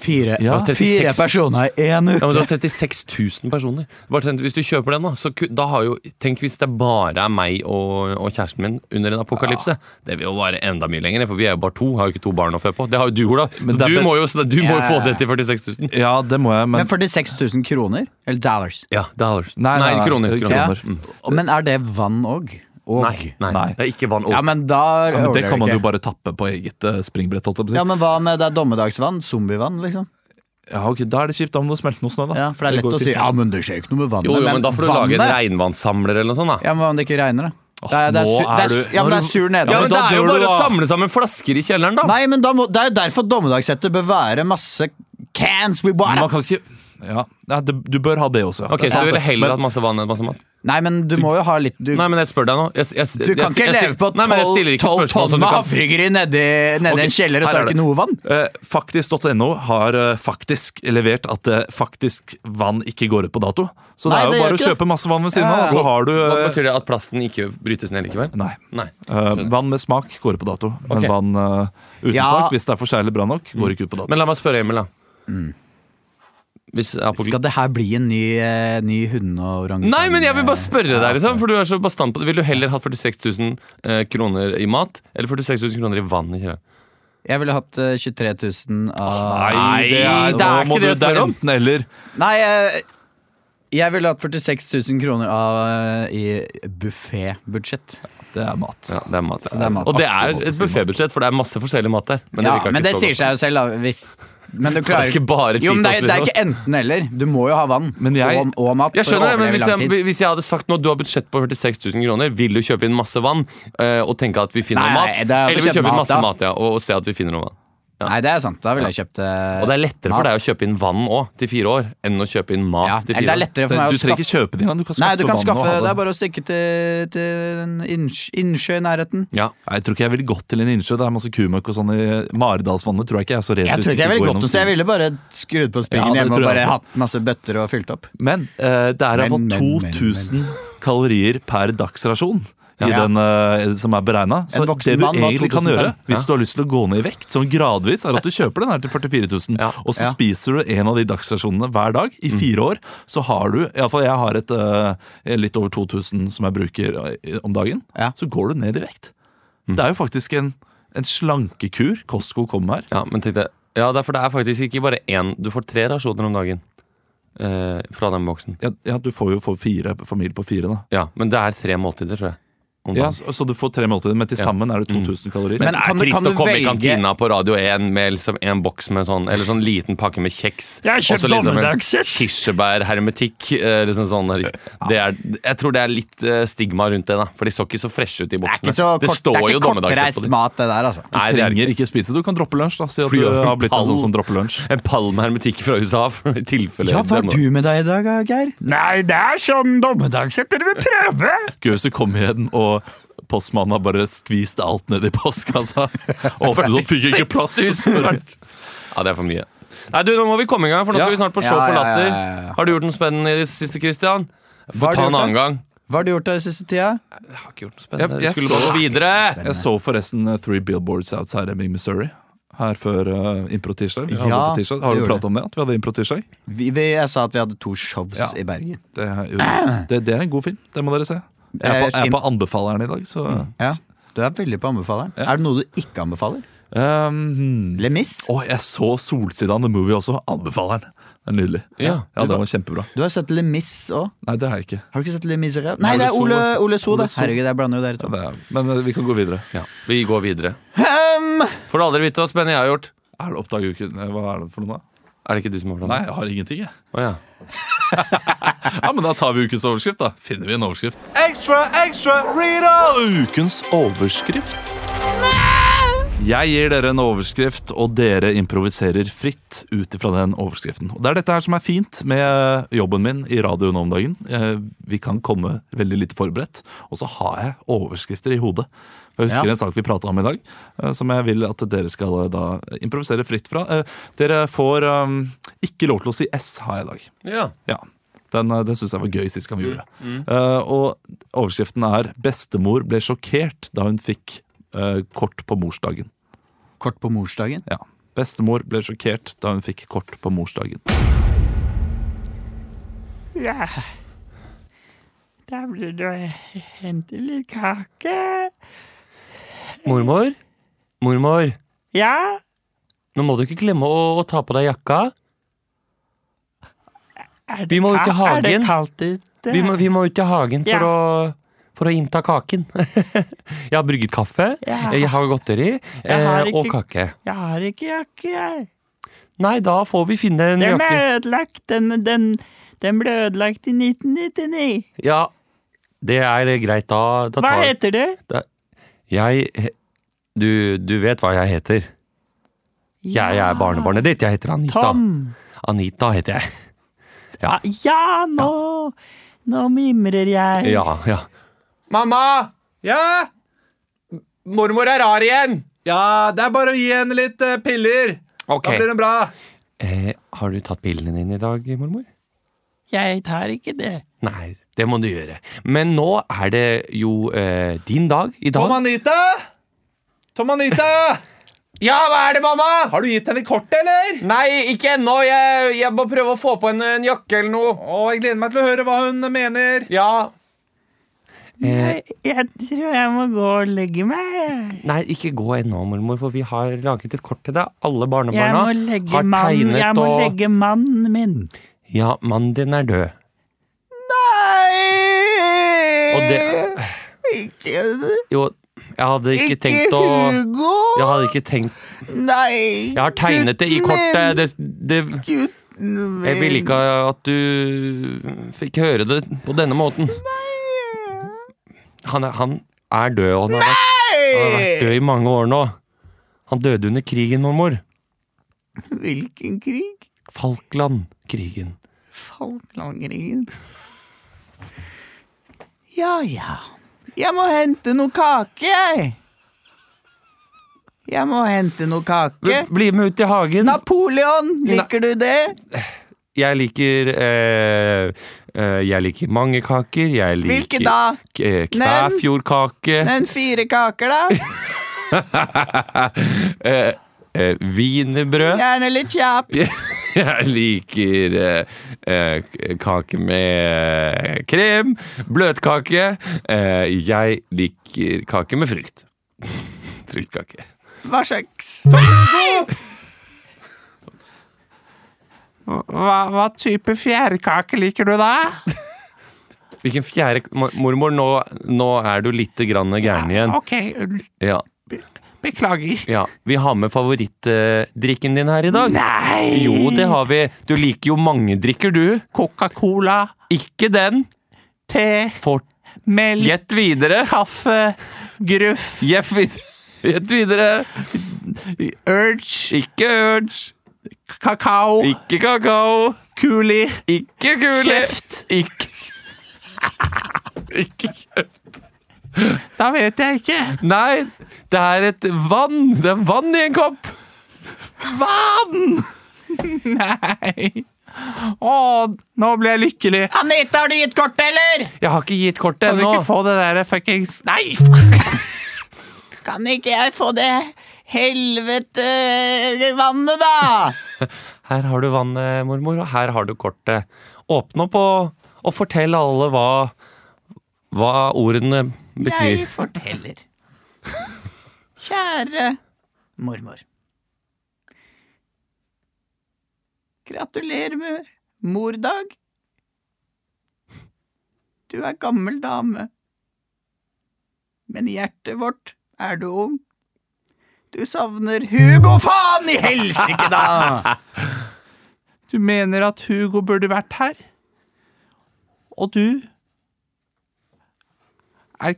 [SPEAKER 2] Fire,
[SPEAKER 3] Ja,
[SPEAKER 1] 36.
[SPEAKER 2] fire personer i én
[SPEAKER 1] Ja,
[SPEAKER 2] uke.
[SPEAKER 1] men du har 36 000 personer. Bare tenk, hvis du kjøper den, da, så ku- da har jo Tenk hvis det bare er meg og, og kjæresten min under en apokalypse. Det vil jo vare enda mye lenger, for vi er jo bare to. Har jo ikke to barn å fø på. Det har jo du, Ola. Så
[SPEAKER 3] Men det er
[SPEAKER 1] du
[SPEAKER 3] be-
[SPEAKER 1] må jo, så du må jo
[SPEAKER 2] Ja,
[SPEAKER 1] få
[SPEAKER 2] ja, ja.
[SPEAKER 1] det til 46 000.
[SPEAKER 3] Ja, det må jeg, men
[SPEAKER 2] Men 46 000 kroner? Eller dollars?
[SPEAKER 1] Ja, dollars.
[SPEAKER 3] Nei, nei, nei,
[SPEAKER 1] kroner.
[SPEAKER 3] kroner.
[SPEAKER 1] kroner. Mm.
[SPEAKER 2] Ja. Men er det vann òg? Og?
[SPEAKER 1] Nei, nei,
[SPEAKER 3] Nei.
[SPEAKER 1] det er ikke vann.
[SPEAKER 2] Ja,
[SPEAKER 1] Ja,
[SPEAKER 2] men da
[SPEAKER 3] ja, men Det
[SPEAKER 2] overlever du
[SPEAKER 3] kan man jo
[SPEAKER 2] ikke.
[SPEAKER 3] bare tappe på eget eh, springbrett. Holdt jeg på å si.
[SPEAKER 2] Ja, men hva med det er dommedagsvann? Zombievann, liksom?
[SPEAKER 3] Ja, ok, Da er det kjipt. Da må du smelte noe snø, da.
[SPEAKER 2] Ja, for det er lett
[SPEAKER 3] går
[SPEAKER 2] å si
[SPEAKER 3] fint.
[SPEAKER 2] Ja, men det skjer ikke noe med vannet.
[SPEAKER 1] jo, jo, men da får du lage en
[SPEAKER 2] vannet-
[SPEAKER 1] regnvannssamler eller noe sånt. da
[SPEAKER 2] Ja, men hva om det ikke regner, da? Det er, det er,
[SPEAKER 3] nå
[SPEAKER 2] sur, det
[SPEAKER 3] er
[SPEAKER 2] er,
[SPEAKER 3] du-
[SPEAKER 2] su- ja, men det er sur nede.
[SPEAKER 1] Ja, men Det
[SPEAKER 3] da
[SPEAKER 1] er jo
[SPEAKER 3] dør du,
[SPEAKER 1] bare å
[SPEAKER 3] da.
[SPEAKER 1] samle sammen flasker i kjelleren, da!
[SPEAKER 2] Nei, men da må, det er jo derfor dommedagssettet bør være masse cans we
[SPEAKER 3] Men
[SPEAKER 2] bought
[SPEAKER 3] man kan ikke ja, nei, det, Du bør ha det også. ja.
[SPEAKER 1] Ok,
[SPEAKER 3] Det er
[SPEAKER 1] Så
[SPEAKER 3] sant,
[SPEAKER 1] du ville
[SPEAKER 3] det.
[SPEAKER 1] heller
[SPEAKER 3] Men-
[SPEAKER 1] hatt masse vann enn masse mat?
[SPEAKER 2] Nei, men du må jo ha litt Du,
[SPEAKER 1] Nei, men jeg spør deg nå. Jeg, jeg,
[SPEAKER 2] du kan
[SPEAKER 1] jeg,
[SPEAKER 2] ikke
[SPEAKER 1] jeg,
[SPEAKER 2] leve på
[SPEAKER 1] Nei, men jeg stiller ikke
[SPEAKER 2] 12
[SPEAKER 1] spørsmål
[SPEAKER 2] tonn
[SPEAKER 1] som du
[SPEAKER 2] med
[SPEAKER 1] kan s-
[SPEAKER 2] havregryn nedi, nedi
[SPEAKER 3] Ok,
[SPEAKER 2] en kjeller, og
[SPEAKER 3] her
[SPEAKER 2] så
[SPEAKER 3] er
[SPEAKER 2] er det
[SPEAKER 3] det.
[SPEAKER 2] ikke noe vann?
[SPEAKER 3] Eh, Faktisk.no har eh, faktisk levert at eh, faktisk vann ikke går ut på dato. Så
[SPEAKER 2] Nei,
[SPEAKER 3] det er
[SPEAKER 2] det
[SPEAKER 3] jo
[SPEAKER 2] gjør
[SPEAKER 3] bare å
[SPEAKER 2] ikke det.
[SPEAKER 3] kjøpe masse vann ved siden
[SPEAKER 2] Ja,
[SPEAKER 3] av,
[SPEAKER 2] ja.
[SPEAKER 3] så har du
[SPEAKER 1] Hva
[SPEAKER 3] eh,
[SPEAKER 1] Betyr det at plasten ikke brytes ned likevel?
[SPEAKER 3] Nei.
[SPEAKER 1] Nei.
[SPEAKER 3] Eh, vann med smak går ut på dato. Men
[SPEAKER 1] Ok.
[SPEAKER 3] vann eh, uten
[SPEAKER 2] Ja.
[SPEAKER 3] smak, hvis det er forseglet bra nok, går ikke ut på dato.
[SPEAKER 1] Men la meg spørre Emil, da. Hvis apok-
[SPEAKER 2] Mm. Skal det her bli en ny, eh, ny hunde- og orangutan?
[SPEAKER 1] Nei, men jeg vil bare spørre
[SPEAKER 2] Ja,
[SPEAKER 1] deg, liksom, for du er så bastant på det. Vil du heller hatt 46 000 eh, kroner i mat eller 46 000 kroner i vann i kjelleren?
[SPEAKER 2] Jeg ville hatt eh, 23 000 av
[SPEAKER 1] Nei, det er
[SPEAKER 3] nå må
[SPEAKER 1] ikke det jeg
[SPEAKER 3] du-
[SPEAKER 1] spør om.
[SPEAKER 3] Enten eller.
[SPEAKER 2] Nei, jeg, jeg ville hatt 46 000 kroner av, eh, i eh, buffébudsjett.
[SPEAKER 3] Det er mat.
[SPEAKER 1] Ja, det er mat,
[SPEAKER 2] det er mat.
[SPEAKER 1] Og det er et buffébudsjett, for det er masse forskjellig mat der. Men
[SPEAKER 2] ja,
[SPEAKER 1] liker jeg
[SPEAKER 2] men
[SPEAKER 1] ikke
[SPEAKER 2] det
[SPEAKER 1] så
[SPEAKER 2] sier
[SPEAKER 1] godt.
[SPEAKER 2] seg jo selv, da. Hvis, men du klarer
[SPEAKER 1] ikke bare
[SPEAKER 2] jo, men det, er, det er
[SPEAKER 1] Cheetos, liksom.
[SPEAKER 2] ikke enten-eller. Du må jo ha vann
[SPEAKER 3] Men jeg-
[SPEAKER 2] og, og mat.
[SPEAKER 1] Jeg
[SPEAKER 2] for å
[SPEAKER 1] skjønner det, men
[SPEAKER 2] overleve
[SPEAKER 1] hvis
[SPEAKER 2] lang tid.
[SPEAKER 1] jeg, hvis jeg hadde sagt nå du har budsjett på 46 000 kroner, vil du kjøpe inn masse vann eh, og tenke at vi finner
[SPEAKER 2] Nei,
[SPEAKER 1] noe
[SPEAKER 2] nei,
[SPEAKER 1] mat?
[SPEAKER 2] det er-
[SPEAKER 1] Eller vil
[SPEAKER 2] kjøpe
[SPEAKER 1] kjøpe inn
[SPEAKER 2] mat,
[SPEAKER 1] masse
[SPEAKER 2] da.
[SPEAKER 1] mat ja, og, og se at vi finner noe vann?
[SPEAKER 2] Nei, det er sant. Da ville jeg kjøpt eh,
[SPEAKER 1] Og det er lettere for
[SPEAKER 2] mat.
[SPEAKER 1] deg å kjøpe inn vann òg, til fire år, enn å kjøpe inn mat
[SPEAKER 2] ja,
[SPEAKER 1] til
[SPEAKER 2] Eller det er
[SPEAKER 1] fire år.
[SPEAKER 2] lettere
[SPEAKER 3] Det,
[SPEAKER 2] for meg
[SPEAKER 3] du
[SPEAKER 2] å
[SPEAKER 3] trenger ikke
[SPEAKER 2] skaffe
[SPEAKER 3] kjøpe det, men du kan skaffe
[SPEAKER 2] Nei, du kan
[SPEAKER 3] vann og
[SPEAKER 2] skaffe
[SPEAKER 3] ha
[SPEAKER 2] Det er bare å stikke til, til en innsj- innsjø i nærheten.
[SPEAKER 1] Ja.
[SPEAKER 3] Nei, Jeg tror ikke jeg ville gått til en innsjø. Det er masse kumøkk og sånn i Maridalsvannet. Tror jeg ikke jeg er så redd
[SPEAKER 2] Jeg
[SPEAKER 3] hvis
[SPEAKER 2] tror ikke jeg
[SPEAKER 3] går
[SPEAKER 2] ville gått
[SPEAKER 3] gjennom
[SPEAKER 2] noe sted. Jeg ville bare skrudd på springen
[SPEAKER 3] Ja, det
[SPEAKER 2] hjemme og
[SPEAKER 3] tror jeg
[SPEAKER 2] bare
[SPEAKER 3] også.
[SPEAKER 2] hatt masse bøtter og fylt opp.
[SPEAKER 3] Men eh, det er
[SPEAKER 2] Men,
[SPEAKER 3] iallfall
[SPEAKER 2] men, men,
[SPEAKER 3] 2000 kalorier per dagsrasjon i
[SPEAKER 2] Ja.
[SPEAKER 3] den, eh, som er beregna. Så
[SPEAKER 2] En voksen
[SPEAKER 3] det du
[SPEAKER 2] mann var
[SPEAKER 3] egentlig kan
[SPEAKER 2] 2000
[SPEAKER 3] gjøre,
[SPEAKER 2] der.
[SPEAKER 3] hvis du har lyst til å gå ned i vekt, som gradvis, er at du kjøper den her til 44 000,
[SPEAKER 1] Ja.
[SPEAKER 3] og så
[SPEAKER 2] Ja. Mm.
[SPEAKER 3] spiser du en av de dagsrasjonene hver dag i fire år. Så har du Iallfall jeg har et eh, litt over 2000 som jeg bruker eh, om dagen.
[SPEAKER 2] Ja. Mm.
[SPEAKER 3] Så går du ned i vekt. Det er jo faktisk en, en slankekur Costco kom med her.
[SPEAKER 1] Ja, men tenk deg Ja, det er- for det er faktisk ikke bare én Du får tre rasjoner om dagen eh, fra den boksen.
[SPEAKER 3] Ja, ja, du får jo få fire familie på fire, da.
[SPEAKER 1] Ja, men det er tre måltider, tror jeg. om
[SPEAKER 3] Ja,
[SPEAKER 1] dagen.
[SPEAKER 3] så, så du får tre måltider, men til sammen er det 2000 kalorier.
[SPEAKER 2] Men
[SPEAKER 1] Men det er
[SPEAKER 2] kan du-
[SPEAKER 1] trist
[SPEAKER 2] kan du
[SPEAKER 1] å komme i
[SPEAKER 2] velge-
[SPEAKER 1] kantina på Radio 1 med liksom en boks med sånn Eller sånn liten pakke med kjeks.
[SPEAKER 4] Jeg har
[SPEAKER 1] og så
[SPEAKER 4] kjøpt
[SPEAKER 1] liksom en
[SPEAKER 4] dommedagssett.
[SPEAKER 1] Kirsebærhermetikk. eh, Liksom sånn, det er, jeg tror det er litt eh, stigma rundt det, da. For de så ikke så freshe ut
[SPEAKER 2] Det
[SPEAKER 1] i
[SPEAKER 2] er
[SPEAKER 1] boksene.
[SPEAKER 2] ikke så kort, det
[SPEAKER 1] står
[SPEAKER 2] er
[SPEAKER 1] jo
[SPEAKER 2] ikke
[SPEAKER 1] dommedagsrett
[SPEAKER 2] kortreist
[SPEAKER 1] på dem.
[SPEAKER 2] mat, det der, altså.
[SPEAKER 1] Nei,
[SPEAKER 3] du
[SPEAKER 1] det er
[SPEAKER 3] trenger
[SPEAKER 1] det ikke.
[SPEAKER 3] ikke spise, du kan droppe lunsj. da Si at
[SPEAKER 1] Fly
[SPEAKER 3] du
[SPEAKER 1] over
[SPEAKER 3] har blitt en
[SPEAKER 1] pallen.
[SPEAKER 3] sånn som dropper lunsj.
[SPEAKER 1] En pall med hermetikk fra USA, for i tilfelle det er noe-
[SPEAKER 2] med deg i dag, Geir?
[SPEAKER 4] Nei, det er sånn dommedagssett dere vil prøve.
[SPEAKER 3] Gøy hvis du kom igjen og postmannen har bare skvist alt ned i postkassa. Åpnet opp, fikk ikke plass.
[SPEAKER 1] 6000 hvert. Ja, det er for mye. Nei, du, Nå må vi komme i gang, for nå skal
[SPEAKER 3] Ja.
[SPEAKER 1] vi snart på
[SPEAKER 2] Ja,
[SPEAKER 1] Show
[SPEAKER 2] ja,
[SPEAKER 1] på
[SPEAKER 2] ja,
[SPEAKER 1] Latter.
[SPEAKER 2] ja, ja.
[SPEAKER 1] Har du gjort noe spennende i det siste, Christian?
[SPEAKER 2] Hva har
[SPEAKER 1] Få
[SPEAKER 2] du
[SPEAKER 1] ta en
[SPEAKER 2] gjort,
[SPEAKER 1] annen
[SPEAKER 2] da?
[SPEAKER 1] gang.
[SPEAKER 2] Hva har du gjort den siste tida?
[SPEAKER 1] Jeg har ikke gjort noe spennende.
[SPEAKER 3] Jeg-
[SPEAKER 1] Jeg,
[SPEAKER 3] jeg
[SPEAKER 1] skulle bare
[SPEAKER 3] så-
[SPEAKER 1] gå videre.
[SPEAKER 3] Jeg så forresten eh, Three Billboards Outside i Missouri. Her før uh, Impro-tirsdag. Vi hadde
[SPEAKER 2] Ja,
[SPEAKER 3] på tirsdag. Har
[SPEAKER 2] det
[SPEAKER 3] du
[SPEAKER 2] gjorde
[SPEAKER 3] prata om det? At vi hadde Impro-tirsdag?
[SPEAKER 2] Vi, vi, jeg sa at vi hadde to shows
[SPEAKER 3] Ja.
[SPEAKER 2] i Bergen.
[SPEAKER 3] Det, er jo- det, det er en god film. Det må dere se. Jeg er på, jeg er på anbefaleren i dag, så
[SPEAKER 2] Ja, Du er veldig på anbefaleren. Er det noe du ikke anbefaler?
[SPEAKER 3] um,
[SPEAKER 2] Le Mis?
[SPEAKER 3] Å, jeg så Solsida on the Movie også. Anbefaler den. Det er nydelig.
[SPEAKER 1] Ja.
[SPEAKER 3] ja Den var kjempebra.
[SPEAKER 2] Du har sett Le Mis òg.
[SPEAKER 3] Nei, det har jeg ikke.
[SPEAKER 2] Har du ikke sett Le Miserable? Nei, det er
[SPEAKER 3] Ole So,
[SPEAKER 2] Ole,
[SPEAKER 3] altså.
[SPEAKER 2] Ole So,
[SPEAKER 3] Ole
[SPEAKER 2] det.
[SPEAKER 3] So.
[SPEAKER 2] Herregud, jeg blander jo dere
[SPEAKER 3] Ja,
[SPEAKER 2] to.
[SPEAKER 3] det er, men eh, vi kan gå videre.
[SPEAKER 1] Ja, vi går videre.
[SPEAKER 2] Hem!
[SPEAKER 1] Får du aldri vite hva spennende jeg har gjort?
[SPEAKER 3] Er det Oppdag uken? Eh, Hva er det for noe, da?
[SPEAKER 1] Er det ikke du som har planen?
[SPEAKER 3] Nei, jeg har ingenting, jeg.
[SPEAKER 1] Å, ja.
[SPEAKER 3] Ja, men Da tar vi ukens overskrift, da. Finner vi en overskrift. Ekstra, ekstra, Rita! Ukens overskrift. Jeg gir dere en overskrift, og dere improviserer fritt ut ifra den overskriften. Og Det er dette her som er fint med eh, jobben min i radioen om dagen. Eh, Vi kan komme veldig lite forberedt, og så har jeg overskrifter i hodet. Jeg husker
[SPEAKER 2] Ja.
[SPEAKER 3] en sak vi prata om i dag, eh, som jeg vil at dere skal eh, da improvisere fritt fra. Eh, Dere får eh, ikke lov til å si S, har jeg i dag.
[SPEAKER 1] Ja.
[SPEAKER 3] Ja, den, eh, den syns jeg var gøy sist gang vi gjorde det. Eh, og overskriften er 'Bestemor ble sjokkert da hun fikk eh, kort på morsdagen'.
[SPEAKER 2] Kort på morsdagen.
[SPEAKER 3] Ja. Bestemor ble sjokkert da hun fikk kort på morsdagen.
[SPEAKER 4] Ja. Da blir det å hente litt kake.
[SPEAKER 1] Mormor? Mormor,
[SPEAKER 4] Ja,
[SPEAKER 1] nå må du ikke glemme å, å ta på deg jakka.
[SPEAKER 4] er det,
[SPEAKER 1] Vi må ut i
[SPEAKER 4] ka- er det
[SPEAKER 1] hagen.
[SPEAKER 4] kaldt ute?
[SPEAKER 1] Vi må, vi må ut i hagen for,
[SPEAKER 4] Ja.
[SPEAKER 1] å, for å innta kaken. jeg har brygget kaffe,
[SPEAKER 4] Ja.
[SPEAKER 1] jeg har godteri
[SPEAKER 4] har
[SPEAKER 1] eh, og
[SPEAKER 4] ikke-
[SPEAKER 1] kake.
[SPEAKER 4] Jeg har ikke jakke, jeg.
[SPEAKER 1] Nei, da får vi finne en
[SPEAKER 4] Den
[SPEAKER 1] jakke.
[SPEAKER 4] er ødelagt. Den, den, den ble ødelagt i 1999.
[SPEAKER 1] Ja, det er greit. Da, da
[SPEAKER 4] Hva
[SPEAKER 1] tar
[SPEAKER 4] heter du?
[SPEAKER 1] Jeg he- du, du vet hva jeg heter. Jeg er barnebarnet ditt. Jeg heter Anita.
[SPEAKER 4] Tom.
[SPEAKER 1] Anita heter jeg. Ja.
[SPEAKER 4] Ja, ja nå Nå mimrer jeg.
[SPEAKER 1] Ja, ja. Mamma!
[SPEAKER 3] Ja!
[SPEAKER 1] Mormor er rar igjen!
[SPEAKER 3] ja, det er bare å gi henne litt eh, piller!
[SPEAKER 1] Ok.
[SPEAKER 3] den bra!
[SPEAKER 1] Eh, har du tatt pillene dine i dag, mormor?
[SPEAKER 4] Jeg tar ikke det.
[SPEAKER 1] Nei, det må du gjøre. Men nå er det jo eh, din dag i dag.
[SPEAKER 3] Anita! Tom Anita!
[SPEAKER 1] Ja, hva er det, mamma?
[SPEAKER 3] Har du gitt henne kortet, eller?
[SPEAKER 1] Nei, ikke ennå. Jeg, jeg må prøve å få på en, en jakke eller noe.
[SPEAKER 3] Å, jeg gleder meg til å høre hva hun mener.
[SPEAKER 1] Ja. Eh,
[SPEAKER 4] Jeg, jeg tror jeg må gå og legge meg.
[SPEAKER 1] nei, ikke gå ennå, mormor, for vi har laget et kort til deg. Alle
[SPEAKER 4] Jeg
[SPEAKER 1] barnebarna
[SPEAKER 4] må legge,
[SPEAKER 1] har
[SPEAKER 4] mannen,
[SPEAKER 1] tegnet
[SPEAKER 4] jeg må
[SPEAKER 1] og
[SPEAKER 4] legge mannen min.
[SPEAKER 1] Ja, mannen din er død. Nei! Og det
[SPEAKER 2] Ikke,
[SPEAKER 1] Jo, jeg hadde ikke tenkt å
[SPEAKER 2] Hugo!
[SPEAKER 1] Jeg hadde ikke tenkt
[SPEAKER 2] Nei!
[SPEAKER 1] Jeg har tegnet det i kortet. Det, det
[SPEAKER 2] Gutten min.
[SPEAKER 1] Jeg ville ikke at du fikk høre det på denne måten. Han er, han er død, og han har vært, han har vært død i mange år nå. Han døde under krigen, mormor.
[SPEAKER 2] Hvilken krig?
[SPEAKER 1] Falkland-krigen.
[SPEAKER 2] Falklandkrigen. Ja, ja. Jeg må hente noe kake, jeg. Jeg må hente noe kake.
[SPEAKER 1] Bl- Bli med ut i hagen.
[SPEAKER 2] Napoleon, liker du det?
[SPEAKER 1] Jeg liker eh, eh, Jeg liker mange kaker. Jeg liker
[SPEAKER 2] Hvilke da?
[SPEAKER 1] k- eh, Kvæfjordkake.
[SPEAKER 2] Men fire kaker, da?
[SPEAKER 1] eh, Wienerbrød.
[SPEAKER 2] Gjerne litt kjapp.
[SPEAKER 1] Jeg liker eh, eh, k- kake med krem, bløtkake. Eh, jeg liker kake med frukt. Fruktkake.
[SPEAKER 2] Hva slags
[SPEAKER 3] Hva, type fjærkake liker du, da?
[SPEAKER 1] Hvilken fjerde k- mor- Mormor, nå, nå er du litt grann gæren igjen.
[SPEAKER 3] Ok,
[SPEAKER 1] Ja,
[SPEAKER 3] beklager.
[SPEAKER 1] ja. Vi har med favorittdrikken din her i dag. Nei! Jo, det har vi. Du liker jo mange drikker, du.
[SPEAKER 3] Coca-Cola,
[SPEAKER 1] Ikke den.
[SPEAKER 3] te,
[SPEAKER 1] Fort.
[SPEAKER 3] melk,
[SPEAKER 1] Gjett videre.
[SPEAKER 3] kaffe, gruff,
[SPEAKER 1] Gjett videre. Gjett videre.
[SPEAKER 3] urge,
[SPEAKER 1] Ikke urge.
[SPEAKER 3] kakao,
[SPEAKER 1] Ikke kakao.
[SPEAKER 3] kuli,
[SPEAKER 1] Ikke kule.
[SPEAKER 3] kjeft.
[SPEAKER 1] Ikke Ikke kjeft.
[SPEAKER 3] Da vet jeg ikke.
[SPEAKER 1] Nei, det er et vann. Det er vann i en kopp.
[SPEAKER 3] Vann! Nei. Å, nå ble jeg lykkelig.
[SPEAKER 2] Anita, har du gitt kortet, eller?
[SPEAKER 1] Jeg har ikke gitt kortet
[SPEAKER 3] Kan du
[SPEAKER 1] ennå.
[SPEAKER 3] ikke få det der fuckings Nei! f-
[SPEAKER 2] Kan ikke jeg få det helvete vannet, da?
[SPEAKER 1] Her har du vannet, mormor, og her har du kortet. Åpne opp og, og fortell alle hva, hva ordene betyr.
[SPEAKER 2] Jeg forteller. Kjære mormor. Gratulerer med mordag. Du er gammel dame, men i hjertet vårt er du ung. Du savner Hugo, faen i helsike, da!
[SPEAKER 3] Du mener at Hugo burde vært her? Og du er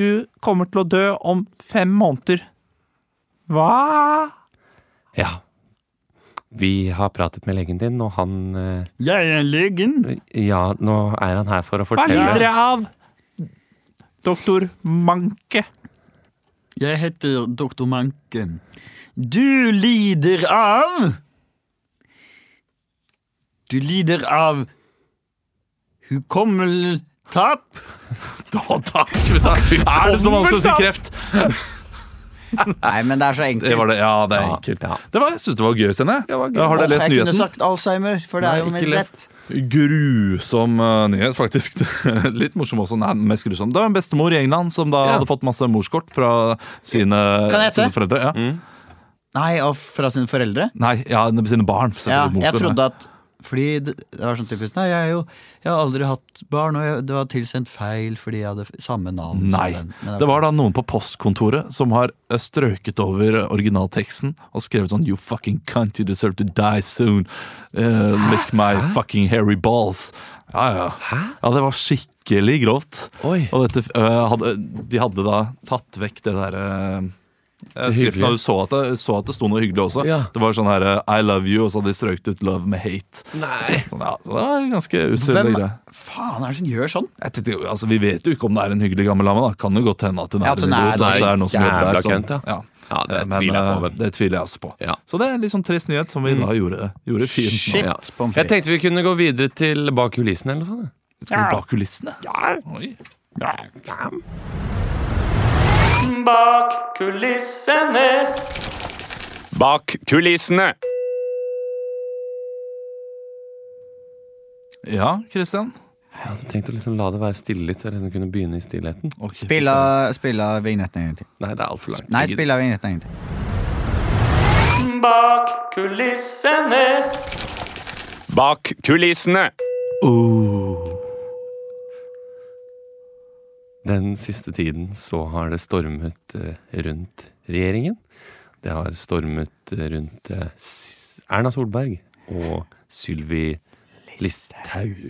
[SPEAKER 3] Du kommer til å dø om fem måneder. Hva?
[SPEAKER 1] Ja. Vi har pratet med legen din, og han eh,
[SPEAKER 4] Jeg er legen.
[SPEAKER 1] Ja, nå er han her for å
[SPEAKER 3] Hva
[SPEAKER 1] fortelle.
[SPEAKER 3] lider jeg av? Doktor Manke.
[SPEAKER 4] Jeg heter doktor Manken. Du lider av Du lider av hukommeltap.
[SPEAKER 3] Da, takk, Er det så vanskelig å si kreft?
[SPEAKER 2] Nei, men det er så enkelt.
[SPEAKER 3] Det var det, ja, det er enkelt. Det var, jeg syns det var gøy, Senne. Har dere lest
[SPEAKER 2] Jeg kunne
[SPEAKER 3] nyheten?
[SPEAKER 2] sagt Alzheimer, for det er
[SPEAKER 1] Nei,
[SPEAKER 2] jo
[SPEAKER 1] ikke
[SPEAKER 2] min
[SPEAKER 1] lest.
[SPEAKER 2] rett.
[SPEAKER 3] Grusom eh, nyhet, faktisk. Litt morsom også. Nei, den mest grusom. Det var en bestemor i England som da
[SPEAKER 1] Ja.
[SPEAKER 3] hadde fått masse morskort fra sine,
[SPEAKER 2] Kan jeg hete?
[SPEAKER 3] sine foreldre. Ja.
[SPEAKER 2] Nei, og fra sine foreldre?
[SPEAKER 3] Nei, ja, sine barn.
[SPEAKER 2] Ja,
[SPEAKER 3] selvfølgelig,
[SPEAKER 2] jeg
[SPEAKER 3] morskort,
[SPEAKER 2] trodde at Fordi det, det var sånn typisk Nei, jeg, er jo, jeg har aldri hatt barn, og jeg, det var tilsendt feil fordi jeg hadde f- samme navn. som
[SPEAKER 3] Nei.
[SPEAKER 2] den. Men
[SPEAKER 3] Det var da noen på postkontoret som har eh, strøket over originalteksten og skrevet sånn You fucking cunt, you deserve to die soon. Eh, lick my fucking hairy balls. Ja, ja. ja, det var skikkelig grovt.
[SPEAKER 1] Oi.
[SPEAKER 3] Og dette, eh, hadde, de hadde da tatt vekk det derre Skriften,
[SPEAKER 1] hyggelige.
[SPEAKER 3] og du så at, det, så at det sto noe hyggelig også.
[SPEAKER 1] Ja.
[SPEAKER 3] Det var sånn her eh, I love you, og så hadde de strøket ut love med hate.
[SPEAKER 1] Nei.
[SPEAKER 3] Sånn, ja, så det var en ganske usynlig
[SPEAKER 2] Hvem
[SPEAKER 3] greie.
[SPEAKER 2] faen er det som gjør sånn?
[SPEAKER 3] Jeg tenkte, jo, altså, vi vet jo ikke om det er en hyggelig gammel dame. da Kan jo godt hende at hun
[SPEAKER 2] Ja,
[SPEAKER 3] er
[SPEAKER 2] at
[SPEAKER 3] en
[SPEAKER 2] hun er-
[SPEAKER 3] idiot. og at det er noen som
[SPEAKER 1] Jævla
[SPEAKER 3] jobber der. som-
[SPEAKER 1] kønt, ja. Ja, det
[SPEAKER 3] Eh, men,
[SPEAKER 1] tviler jeg på,
[SPEAKER 3] eh,
[SPEAKER 1] men-
[SPEAKER 3] Det tviler jeg også på.
[SPEAKER 1] Ja.
[SPEAKER 3] Så det er en litt sånn trist nyhet som vi da gjorde, gjorde fint.
[SPEAKER 2] Shit,
[SPEAKER 1] Ja.
[SPEAKER 3] nå.
[SPEAKER 2] pommes
[SPEAKER 1] Jeg
[SPEAKER 2] frites.
[SPEAKER 1] tenkte vi kunne gå videre til bak kulissene eller noe sånt. ja.
[SPEAKER 3] Skal vi bak kulissene? Ja. Oi.
[SPEAKER 5] Bak kulissene. Bak kulissene.
[SPEAKER 3] Ja, Christian.
[SPEAKER 1] Jeg hadde tenkt å liksom la det være stille litt, så jeg liksom kunne begynne i stillheten.
[SPEAKER 3] Ok.
[SPEAKER 2] Spill av- Spill av vignetten en gang til.
[SPEAKER 1] Nei, det er altfor langt.
[SPEAKER 2] Nei, spill av vignetten en gang til.
[SPEAKER 5] Bak kulissene. Bak kulissene.
[SPEAKER 3] Oh.
[SPEAKER 1] Det den siste tiden så har det stormet eh, rundt regjeringen. Det har stormet eh, rundt eh, S- Erna Solberg og Sylvi Listhaug.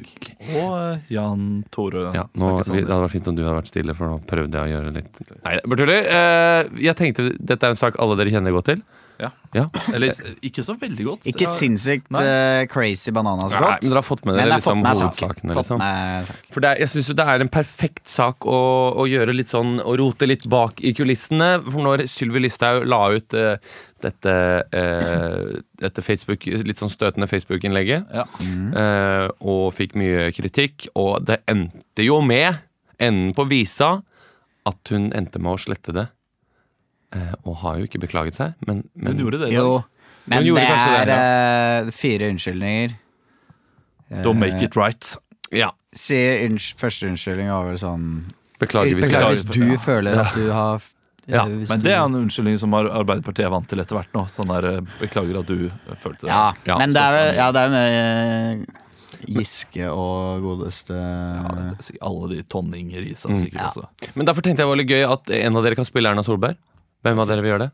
[SPEAKER 3] Og eh, Jan Tore
[SPEAKER 1] Ja, nå, vi, det
[SPEAKER 3] Snakkes om det.
[SPEAKER 1] hadde vært fint om du hadde vært stille, for nå prøvde jeg å gjøre litt Nei, bare tuller. Eh, jeg tenkte dette er en sak alle dere kjenner godt til.
[SPEAKER 3] Ja.
[SPEAKER 1] Ja.
[SPEAKER 3] Eller s- ikke så veldig godt.
[SPEAKER 2] Ikke
[SPEAKER 3] Ja,
[SPEAKER 2] sinnssykt
[SPEAKER 3] Nei.
[SPEAKER 2] eh, crazy bananas
[SPEAKER 1] Nei,
[SPEAKER 2] godt.
[SPEAKER 1] men dere har fått med
[SPEAKER 2] Men
[SPEAKER 1] dere
[SPEAKER 2] jeg har fått
[SPEAKER 1] liksom,
[SPEAKER 2] med saken.
[SPEAKER 1] hovedsakene.
[SPEAKER 2] Fått
[SPEAKER 1] Liksom.
[SPEAKER 2] med saken.
[SPEAKER 1] For det, er- jeg synes jo det er en perfekt sak å, å gjøre litt sånn Å rote litt bak i kulissene. For når Sylvi Listhaug la ut eh, dette, eh, dette Facebook, litt sånn støtende Facebook-innlegget,
[SPEAKER 3] Ja.
[SPEAKER 2] Mm.
[SPEAKER 1] eh, og fikk mye kritikk, og det endte jo med, enden på visa, at hun endte med å slette det. Eh, og har jo ikke beklaget seg, men, men
[SPEAKER 3] Hun gjorde det i dag.
[SPEAKER 2] Jo, men
[SPEAKER 1] gjorde
[SPEAKER 2] det
[SPEAKER 1] kanskje det,
[SPEAKER 2] er eh, fire unnskyldninger. Eh,
[SPEAKER 3] Don't make it right.
[SPEAKER 1] ja,
[SPEAKER 2] Si unns, første unnskyldning var vel sånn
[SPEAKER 1] beklager hvis
[SPEAKER 2] Beklager
[SPEAKER 1] jeg
[SPEAKER 2] hvis du føler at du har eh,
[SPEAKER 1] Ja,
[SPEAKER 2] hvis
[SPEAKER 3] Men
[SPEAKER 2] du-
[SPEAKER 3] det er en unnskyldning som Ar- Arbeiderpartiet er vant til etter hvert nå. Sånn der, eh, beklager at du eh, følte det.
[SPEAKER 2] Ja,
[SPEAKER 1] Ja,
[SPEAKER 2] men det er jo ja, det er med eh, Giske og godeste
[SPEAKER 3] Ja, det er sikkert alle de tonninger i seg sikkert
[SPEAKER 2] Ja.
[SPEAKER 3] også.
[SPEAKER 1] Men derfor tenkte jeg det var litt gøy at en av dere kan spille Erna Solberg. Hvem av dere vil gjøre det?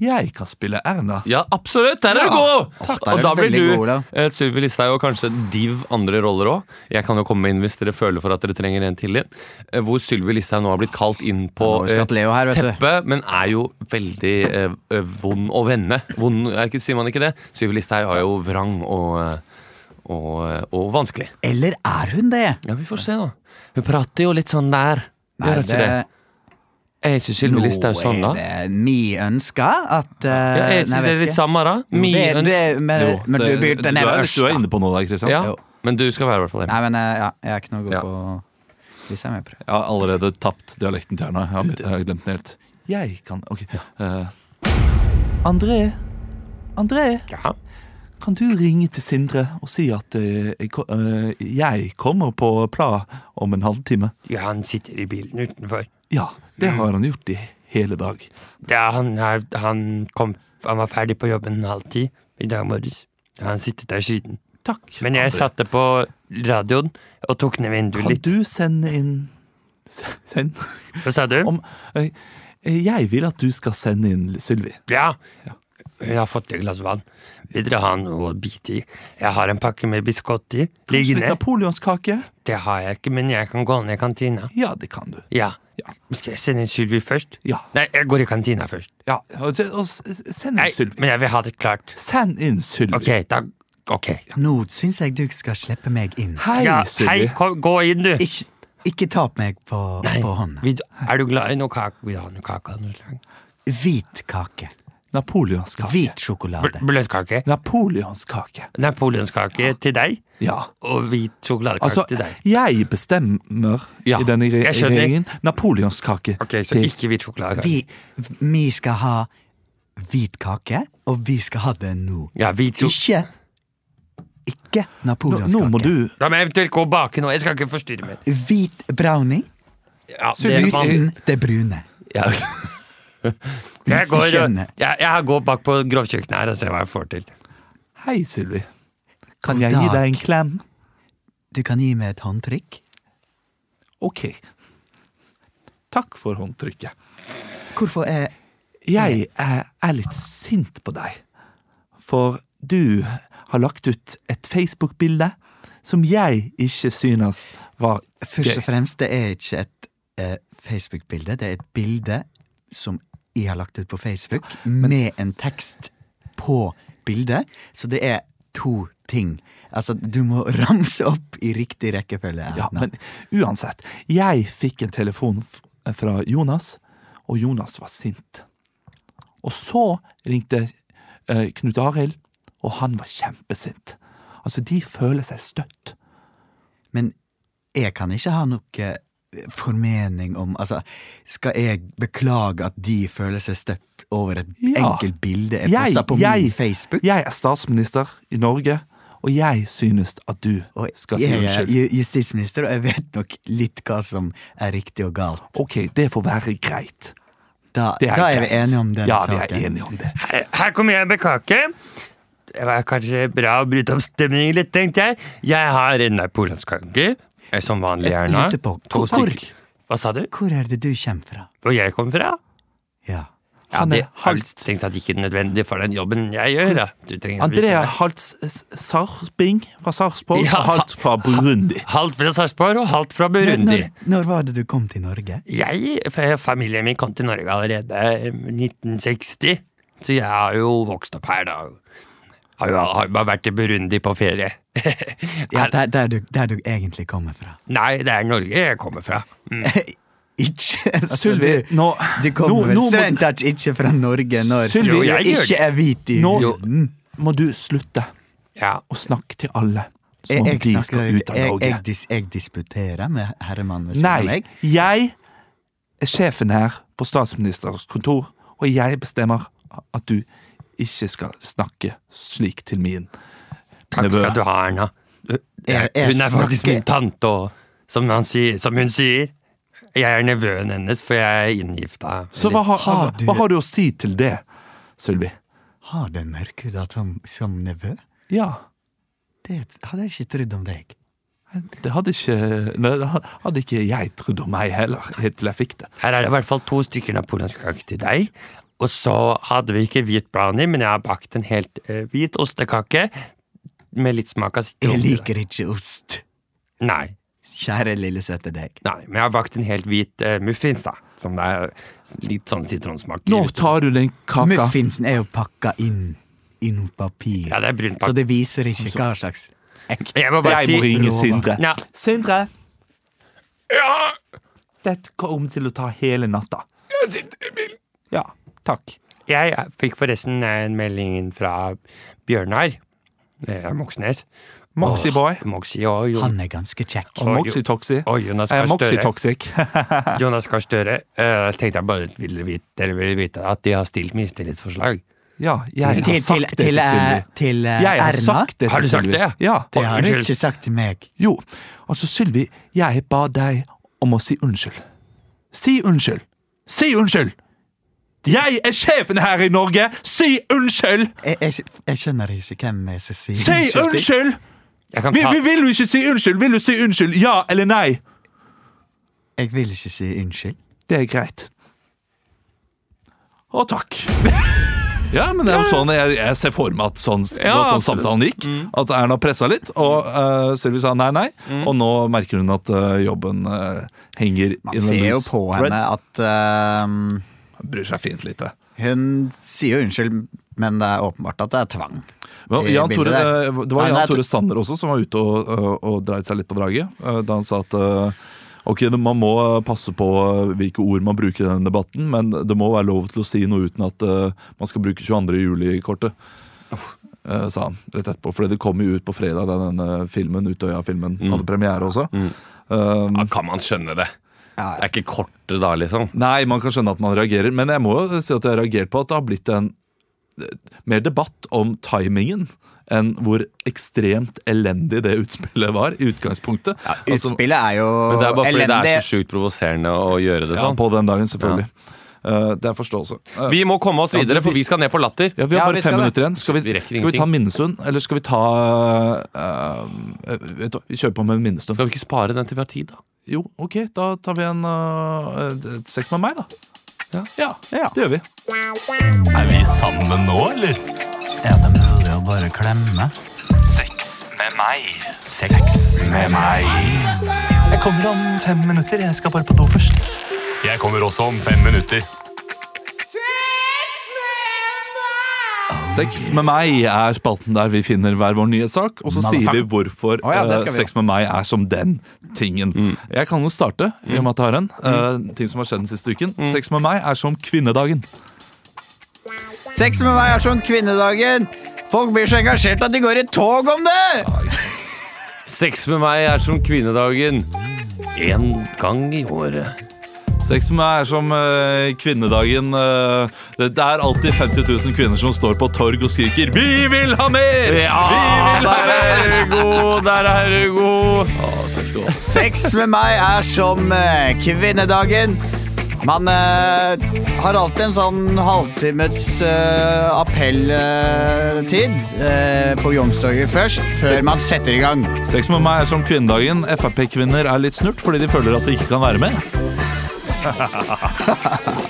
[SPEAKER 3] Jeg kan spille Erna.
[SPEAKER 1] Ja, absolutt! Der er du god! Takk.
[SPEAKER 2] der er
[SPEAKER 1] Og
[SPEAKER 2] du
[SPEAKER 1] da blir
[SPEAKER 2] veldig
[SPEAKER 1] du
[SPEAKER 2] god, Olav.
[SPEAKER 1] eh, Sylvi Listhaug og kanskje div andre roller òg. Jeg kan jo komme inn hvis dere føler for at dere trenger en til. eh, Hvor Sylvi Listhaug nå har blitt kalt inn på
[SPEAKER 2] Nå har vi
[SPEAKER 1] eh,
[SPEAKER 2] skatt Leo her, vet du.
[SPEAKER 1] teppet, men er jo veldig eh, eh, vond å vende. Vond, er ikke, sier man ikke det? Sylvi Listhaug er jo vrang og, eh, og, eh, og vanskelig.
[SPEAKER 2] Eller er hun det?
[SPEAKER 1] Ja, vi får se, da. Hun prater jo litt sånn der. Gjør hun ikke det? Jeg
[SPEAKER 2] Nå
[SPEAKER 1] syns Sylvi Listhaug er sånn, da.
[SPEAKER 2] er det mi ønska at eh,
[SPEAKER 1] Ja, jeg
[SPEAKER 2] nei,
[SPEAKER 1] synes det
[SPEAKER 2] vet
[SPEAKER 1] er litt
[SPEAKER 2] ikke.
[SPEAKER 1] samme, da.
[SPEAKER 2] Jo,
[SPEAKER 1] Mi
[SPEAKER 2] det-
[SPEAKER 1] ønske
[SPEAKER 2] det- Men,
[SPEAKER 3] Jo,
[SPEAKER 2] men du
[SPEAKER 3] det-
[SPEAKER 2] begynte ned
[SPEAKER 3] er-
[SPEAKER 2] ved
[SPEAKER 3] Du er
[SPEAKER 2] Ørsta.
[SPEAKER 3] inne på noe der, Kristian.
[SPEAKER 1] Ja,
[SPEAKER 2] Jo.
[SPEAKER 1] men du skal være i hvert fall det.
[SPEAKER 2] Nei, men eh, ja, jeg er ikke noe god
[SPEAKER 1] Ja.
[SPEAKER 2] på Hvis jeg er med på det.
[SPEAKER 3] Jeg har allerede tapt dialekten til Erna. Jeg har, jeg har glemt den helt. Jeg kan Ok. eh, André. André,
[SPEAKER 1] Ja.
[SPEAKER 3] kan du ringe til Sindre og si at eh, jeg, ko- eh, jeg kommer på Pla om en halvtime?
[SPEAKER 1] ja, han sitter i bilen utenfor.
[SPEAKER 3] Ja, det har han gjort i hele dag.
[SPEAKER 1] Ja, han, er, han, kom, han var ferdig på jobben halv ti i dag morges. Ja, han sittet der siden.
[SPEAKER 3] Takk.
[SPEAKER 1] Men jeg
[SPEAKER 3] André.
[SPEAKER 1] satte på radioen og tok ned vinduet
[SPEAKER 3] Kan
[SPEAKER 1] litt.
[SPEAKER 3] du sende inn se- Send
[SPEAKER 1] Hva sa du?
[SPEAKER 3] om eh, Jeg vil at du skal sende inn Sylvi.
[SPEAKER 1] Ja, jeg har fått et glass vann. Vil dere ha noe å bite i? Jeg har en pakke med biskott i.
[SPEAKER 3] Litt
[SPEAKER 1] Liggende.
[SPEAKER 3] napoleonskake?
[SPEAKER 1] Det har jeg ikke, men jeg kan gå ned i kantina.
[SPEAKER 3] Ja, det kan du.
[SPEAKER 1] Ja.
[SPEAKER 3] Ja.
[SPEAKER 1] Skal jeg sende inn Sylvi først?
[SPEAKER 3] Ja.
[SPEAKER 1] Nei, jeg går i kantina først.
[SPEAKER 3] ja. Og, og, send
[SPEAKER 1] Nei,
[SPEAKER 3] inn Sylvi.
[SPEAKER 1] men jeg vil ha det klart.
[SPEAKER 3] Send inn Sylvi.
[SPEAKER 1] Ok, da Ok.
[SPEAKER 2] Nå syns jeg du skal slippe meg inn.
[SPEAKER 3] Hei,
[SPEAKER 1] Ja, hei,
[SPEAKER 3] Sylvi.
[SPEAKER 1] kom, gå inn, du.
[SPEAKER 2] Ikke, ikke tap meg på,
[SPEAKER 1] Nei,
[SPEAKER 2] på hånda.
[SPEAKER 1] vil du- er du glad i noe kake? Vil du ha noe kake? av noe slag?
[SPEAKER 2] Hvit kake.
[SPEAKER 3] Napoleonskake.
[SPEAKER 2] Hvit sjokolade.
[SPEAKER 1] Bl- Bløtkake?
[SPEAKER 3] Napoleonskake.
[SPEAKER 1] Napoleonskake til deg?
[SPEAKER 3] Ja.
[SPEAKER 1] Og hvit sjokoladekake
[SPEAKER 3] Altså,
[SPEAKER 1] til deg?
[SPEAKER 3] jeg bestemmer
[SPEAKER 1] Ja,
[SPEAKER 3] i denne re-
[SPEAKER 1] jeg skjønner.
[SPEAKER 3] regjeringen. Napoleonskake.
[SPEAKER 1] Ok, så
[SPEAKER 3] til-
[SPEAKER 1] ikke hvit sjokoladekake.
[SPEAKER 2] Vi, vi skal ha hvit kake, og vi skal ha det nå.
[SPEAKER 1] Ja, hvit sjok-
[SPEAKER 2] Ikke Ikke
[SPEAKER 3] nå, nå må
[SPEAKER 2] napoleonskake.
[SPEAKER 3] du
[SPEAKER 1] Da må jeg eventuelt gå og bake nå. Jeg skal ikke forstyrre mer.
[SPEAKER 2] Hvit brownie
[SPEAKER 1] Ja, det er vanlig.
[SPEAKER 2] uten det brune.
[SPEAKER 1] Ja. Jeg
[SPEAKER 2] Hvis du
[SPEAKER 1] går,
[SPEAKER 2] skjønner.
[SPEAKER 1] og- jeg, jeg går bak på grovkjøkkenet her og ser hva jeg får til.
[SPEAKER 3] Hei, Sylvi. Kan
[SPEAKER 2] God
[SPEAKER 3] jeg gi
[SPEAKER 2] dag.
[SPEAKER 3] deg en klem?
[SPEAKER 2] Du kan gi meg et håndtrykk.
[SPEAKER 3] Ok. Takk for håndtrykket.
[SPEAKER 2] Hvorfor er
[SPEAKER 3] Jeg er, er litt sint på deg, for du har lagt ut et Facebook-bilde som jeg ikke synes var
[SPEAKER 2] Først
[SPEAKER 3] gøy.
[SPEAKER 2] og fremst, det er ikke et eh, Facebook-bilde. Det er et bilde som jeg har lagt ut på Facebook, med en tekst på bildet. Så det er to ting. Altså, du må ramse opp i riktig rekkefølge.
[SPEAKER 3] Ja,
[SPEAKER 2] Erna.
[SPEAKER 3] men uansett. Jeg fikk en telefon f- fra Jonas, og Jonas var sint. Og så ringte eh, Knut Arild, og han var kjempesint. Altså, de føler seg støtt.
[SPEAKER 2] Men jeg kan ikke ha noe eh, formening om Altså, skal jeg beklage at de føler seg støtt over et
[SPEAKER 3] Ja.
[SPEAKER 2] enkelt bilde jeg posta på min Facebook?
[SPEAKER 3] jeg er statsminister i Norge, og jeg synes at du
[SPEAKER 2] Og
[SPEAKER 3] skal si
[SPEAKER 2] jeg er
[SPEAKER 3] unnskyld.
[SPEAKER 2] ju- justisminister, og jeg vet nok litt hva som er riktig og galt.
[SPEAKER 3] Ok, det får være greit.
[SPEAKER 2] Da,
[SPEAKER 3] Det er
[SPEAKER 2] da er vi
[SPEAKER 3] greit.
[SPEAKER 2] enige om liksom. den
[SPEAKER 3] ja, Ja, vi
[SPEAKER 2] saken.
[SPEAKER 3] er enige om det.
[SPEAKER 1] Her, Eh, her kommer jeg med kake. Det var kanskje bra å bryte opp stemningen litt, tenkte jeg. Jeg har en napoleonskake, eh, som vanlig
[SPEAKER 2] Jeg
[SPEAKER 1] gjerne.
[SPEAKER 2] lurte på
[SPEAKER 1] To
[SPEAKER 2] hvor
[SPEAKER 1] stykker.
[SPEAKER 6] Hva sa du?
[SPEAKER 2] Hvor er det du kommer fra?
[SPEAKER 6] Hvor jeg kom fra?
[SPEAKER 2] Ja.
[SPEAKER 6] Ja,
[SPEAKER 3] Han
[SPEAKER 6] det
[SPEAKER 3] er
[SPEAKER 6] er vel strengt tatt ikke nødvendig for den jobben jeg gjør. Da. Du trenger å bli
[SPEAKER 3] Andrea
[SPEAKER 6] kjent.
[SPEAKER 3] Haltz Sarping fra Sarpsborg.
[SPEAKER 6] Ja.
[SPEAKER 3] Halt fra Burundi.
[SPEAKER 6] Halvt fra Sarpsborg og halvt fra Burundi.
[SPEAKER 2] Når, når var det du kom til Norge?
[SPEAKER 6] Jeg, f- Familien min kom til Norge allerede i 1960, så jeg har jo vokst opp her, da. Har jo har jo bare vært i Burundi på ferie.
[SPEAKER 2] Ja,
[SPEAKER 6] Er-
[SPEAKER 2] der, der, du, der du egentlig kommer fra.
[SPEAKER 6] Nei, det er Norge jeg kommer fra. Mm.
[SPEAKER 2] Ikke
[SPEAKER 3] Sylvi,
[SPEAKER 2] Altså, du-
[SPEAKER 3] nå-
[SPEAKER 2] Du kommer
[SPEAKER 3] nå- nå
[SPEAKER 2] vel
[SPEAKER 3] må-
[SPEAKER 2] strengt tatt ikke fra Norge når
[SPEAKER 3] Sylvi,
[SPEAKER 2] du
[SPEAKER 6] jeg gjør
[SPEAKER 2] ikke er hvit i
[SPEAKER 3] Nå-
[SPEAKER 2] huden.
[SPEAKER 3] Må du slutte
[SPEAKER 6] Ja.
[SPEAKER 3] å snakke til alle som
[SPEAKER 2] Jeg,
[SPEAKER 3] om
[SPEAKER 2] jeg,
[SPEAKER 3] de
[SPEAKER 2] snakker,
[SPEAKER 3] skal
[SPEAKER 2] jeg,
[SPEAKER 3] ut av
[SPEAKER 2] jeg,
[SPEAKER 3] Norge?
[SPEAKER 2] dis, jeg disputerer med herremannen ved siden av
[SPEAKER 3] Nei,
[SPEAKER 2] meg.
[SPEAKER 3] jeg er sjefen her på statsministerens kontor, og jeg bestemmer at du ikke skal snakke slik til min
[SPEAKER 6] Takk
[SPEAKER 3] nevø.
[SPEAKER 6] skal du ha, Erna. Du-
[SPEAKER 2] Jeg- jeg
[SPEAKER 6] Hun er faktisk
[SPEAKER 2] snakker-
[SPEAKER 6] min tante, og som, han sier, som hun sier, jeg er nevøen hennes, for jeg er inngifta.
[SPEAKER 3] Så hva har,
[SPEAKER 2] Har du-
[SPEAKER 3] hva har du å si til det, Sylvi?
[SPEAKER 2] Har du mørkhuda som, som nevø?
[SPEAKER 3] Ja,
[SPEAKER 2] Det hadde jeg ikke trodd om deg.
[SPEAKER 3] det hadde ikke, nei, det hadde ikke jeg trodd om meg heller, helt til jeg fikk det.
[SPEAKER 6] Her er det i hvert fall to stykker napoleonskake til deg. Og så hadde vi ikke hvit brownie, men jeg har bakt en helt eh, hvit ostekake med litt smak av sitron.
[SPEAKER 2] Jeg
[SPEAKER 6] til deg.
[SPEAKER 2] liker ikke ost.
[SPEAKER 6] Nei,
[SPEAKER 2] Kjære lille søte deg.
[SPEAKER 6] nei, men jeg har bakt en helt hvit eh, muffins, da. Som det er litt sånn sitronsmak. i.
[SPEAKER 3] Nå tar du den kaka.
[SPEAKER 2] Muffinsen er jo pakka inn i noe papir,
[SPEAKER 6] Ja, det er brunt
[SPEAKER 2] så
[SPEAKER 6] bak.
[SPEAKER 2] det viser ikke hva slags ekte
[SPEAKER 6] Jeg må bare
[SPEAKER 3] Jeg må
[SPEAKER 6] si
[SPEAKER 3] ringe Sindre.
[SPEAKER 6] Ja.
[SPEAKER 3] Sindre,
[SPEAKER 6] ja.
[SPEAKER 3] dette kommer til å ta hele natta. Ja, takk.
[SPEAKER 6] Jeg fikk forresten en melding fra Bjørnar eh, Moxnes.
[SPEAKER 3] Moxie
[SPEAKER 6] Åh,
[SPEAKER 3] boy.
[SPEAKER 6] Moxie og Jon,
[SPEAKER 2] Han er ganske kjekk.
[SPEAKER 6] Oi,
[SPEAKER 3] Og Moxitoxi.
[SPEAKER 6] og Jonas
[SPEAKER 3] Jeg
[SPEAKER 6] Gahr
[SPEAKER 3] er
[SPEAKER 6] Støre.
[SPEAKER 3] Moxitoxic.
[SPEAKER 6] Jonas Gahr Støre. eh, tenkte jeg bare ville vite, dere ville vite at de har stilt mistillitsforslag.
[SPEAKER 3] Ja, jeg har
[SPEAKER 2] Til,
[SPEAKER 3] sagt
[SPEAKER 2] til,
[SPEAKER 3] det
[SPEAKER 2] til,
[SPEAKER 3] til
[SPEAKER 2] eh,
[SPEAKER 3] Sylvi.
[SPEAKER 2] til eh,
[SPEAKER 3] Jeg har
[SPEAKER 2] Erna.
[SPEAKER 3] sagt det til
[SPEAKER 6] Har du sagt
[SPEAKER 3] Sylvi.
[SPEAKER 6] det?
[SPEAKER 3] Ja.
[SPEAKER 2] Det har du
[SPEAKER 6] Unnskyld.
[SPEAKER 2] ikke sagt til meg.
[SPEAKER 3] Jo, altså Sylvi, jeg ba deg om å si unnskyld. Si unnskyld! Si unnskyld! Jeg er sjefen her i Norge! Si unnskyld!
[SPEAKER 2] Jeg, jeg, jeg skjønner ikke hvem jeg skal si
[SPEAKER 3] Si
[SPEAKER 2] til.
[SPEAKER 3] unnskyld!
[SPEAKER 6] Jeg kan
[SPEAKER 3] Vi,
[SPEAKER 6] ta,
[SPEAKER 3] vi vil jo ikke si unnskyld! Vil du si unnskyld? Ja eller nei?
[SPEAKER 2] Jeg vil ikke si unnskyld.
[SPEAKER 3] Det er greit. Og takk. Ja, men det er jo sånn, jeg, jeg ser for meg at sånn, det var sånn
[SPEAKER 6] absolutt.
[SPEAKER 3] samtalen gikk. At Erna pressa litt, og uh, Sylvi sa nei, nei. Og nå merker hun at eh, jobben eh, henger
[SPEAKER 2] Man ser jo på henne at ehm,
[SPEAKER 3] Bryr seg fint lite.
[SPEAKER 2] Hun sier jo unnskyld, men det er åpenbart at det er tvang.
[SPEAKER 3] Men
[SPEAKER 2] I
[SPEAKER 3] Jan Tore,
[SPEAKER 2] bildet der.
[SPEAKER 3] eh, det var
[SPEAKER 2] Nei,
[SPEAKER 3] Jan
[SPEAKER 2] nei,
[SPEAKER 3] Tore Sanner også som var ute og, og- og dreide seg litt på draget. eh, Da han sa at eh, ok, det- man må passe på eh, hvilke ord man bruker i denne debatten, men det må være lov til å si noe uten at eh, man skal bruke 22. juli-kortet. eh, sa han rett etterpå. Fordi det kom jo ut på fredag, da denne filmen, Utøya-filmen,
[SPEAKER 2] Mm.
[SPEAKER 3] hadde premiere også. Um,
[SPEAKER 6] ja, kan man skjønne det? Det er ikke kortet da, liksom.
[SPEAKER 3] Nei, man kan skjønne at man reagerer, men jeg må jo si at jeg har reagert på at det har blitt en eh, mer debatt om timingen enn hvor ekstremt elendig det utspillet var i utgangspunktet. Altså,
[SPEAKER 2] Utspillet er jo
[SPEAKER 6] Men det er bare fordi det
[SPEAKER 2] elendig.
[SPEAKER 6] er så sjukt provoserende å gjøre det
[SPEAKER 3] ja,
[SPEAKER 6] sånn.
[SPEAKER 3] på den dagen, selvfølgelig. Eh, det er forståelse. Eh,
[SPEAKER 6] Vi må komme oss
[SPEAKER 3] Ja,
[SPEAKER 6] videre,
[SPEAKER 3] vi-
[SPEAKER 6] for vi skal ned på latter.
[SPEAKER 3] ja, vi har
[SPEAKER 2] Ja,
[SPEAKER 3] bare
[SPEAKER 2] vi
[SPEAKER 3] fem
[SPEAKER 2] skal det.
[SPEAKER 3] minutter igjen. Skal vi,
[SPEAKER 6] Vi rekker
[SPEAKER 3] skal vi ta
[SPEAKER 6] ingenting.
[SPEAKER 3] Minnesund, eller skal vi ta eh, eh, vet du, hva, Vi kjører på med Minnesund.
[SPEAKER 6] Skal vi ikke spare den til vi har tid, da?
[SPEAKER 3] Jo, OK, da tar vi en eh, eh, sex med meg, da. Ja,
[SPEAKER 2] Ja.
[SPEAKER 3] det gjør vi.
[SPEAKER 7] Er vi sammen nå, eller?
[SPEAKER 2] Er det mulig å bare klemme?
[SPEAKER 7] Sex med meg. Sex med meg. Jeg kommer om fem minutter. Jeg skal bare på do først. Jeg kommer også om fem minutter.
[SPEAKER 3] Sex med meg er spalten der vi finner hver vår nye sak, og så sier vi hvorfor
[SPEAKER 2] Å ja, det
[SPEAKER 3] eh,
[SPEAKER 2] skal vi
[SPEAKER 3] sex med meg er som den tingen. Jeg kan jo starte, i og med at jeg har en. eh, ting som har skjedd den siste uken. Sex med meg er som kvinnedagen.
[SPEAKER 2] Sex med meg er som kvinnedagen! Folk blir så engasjert at de går i tog om det!
[SPEAKER 6] Sex med meg er som kvinnedagen. Én gang i året.
[SPEAKER 3] Sex med meg er som eh, kvinnedagen. eh, det, det er alltid 50 000 kvinner som står på torg og skriker 'Vi vil ha mer!'
[SPEAKER 6] Ja,
[SPEAKER 3] Vi vil ha
[SPEAKER 6] der er du god! Der er du god!
[SPEAKER 3] Ja, takk skal du ha.
[SPEAKER 2] Sex med meg er som eh, kvinnedagen. Man eh, har alltid en sånn halvtimes eh, appelltid eh, på Youngstorget først, før man setter i gang.
[SPEAKER 3] Sex med meg er som kvinnedagen. Frp-kvinner er litt snurt fordi de føler at de ikke kan være med.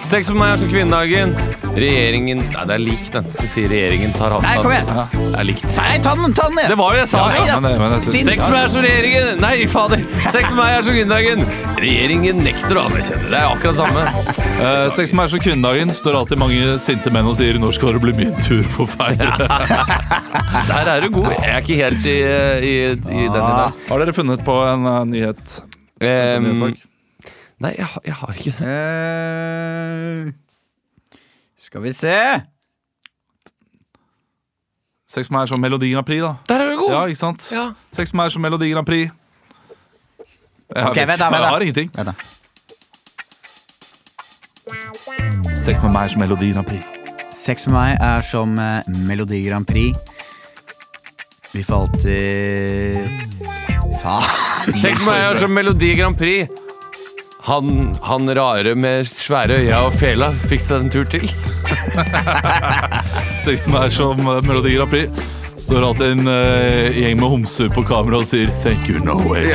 [SPEAKER 1] Sex med meg er som kvinnedagen. Regjeringen Nei, det er lik, den. Du sier regjeringen tar hatten
[SPEAKER 2] Nei, kom igjen.
[SPEAKER 1] av. Det er likt.
[SPEAKER 2] Nei, ta den, ta den ned!
[SPEAKER 3] Det var jo det jeg sa!
[SPEAKER 2] Ja,
[SPEAKER 3] men det- men det-
[SPEAKER 2] Siden-
[SPEAKER 1] Sex med meg er som regjeringen Nei, fader. Sex med meg er som kvinnedagen. Regjeringen nekter å anerkjenne. Det er akkurat samme.
[SPEAKER 3] Eh, Sex med meg er som kvinnedagen står alltid mange sinte menn og sier 'når skal det bli min tur på ferie'?
[SPEAKER 1] Der er du god. Jeg er ikke helt i, i, i den i dag.
[SPEAKER 3] Har dere funnet på en eh, nyhet? En
[SPEAKER 1] Em,
[SPEAKER 3] nyhetssak?
[SPEAKER 1] Ehm, nei, jeg, har- jeg har ikke det.
[SPEAKER 2] Eh, skal vi se
[SPEAKER 3] Sex med meg er som Melodi Grand Prix, da.
[SPEAKER 1] Der er du god!
[SPEAKER 3] Ja, ikke sant?
[SPEAKER 1] Ja.
[SPEAKER 3] Sex med meg er som Melodi Grand Prix. Jeg har,
[SPEAKER 2] Ok, vent da, vent da.
[SPEAKER 3] jeg har ingenting.
[SPEAKER 2] Vent da.
[SPEAKER 3] Sex med meg er som Melodi Grand Prix.
[SPEAKER 2] Sex med meg er som eh, Melodi Grand Prix. Vi falt i Faen!
[SPEAKER 1] Sex med meg er som Melodi Grand Prix. Han, han rare med svære øyne og fela fikk seg en tur til.
[SPEAKER 3] Sex med meg er som eh, Melodi Grand Prix. Står alltid en eh, gjeng med homser på kamera og sier 'thank you, no way'.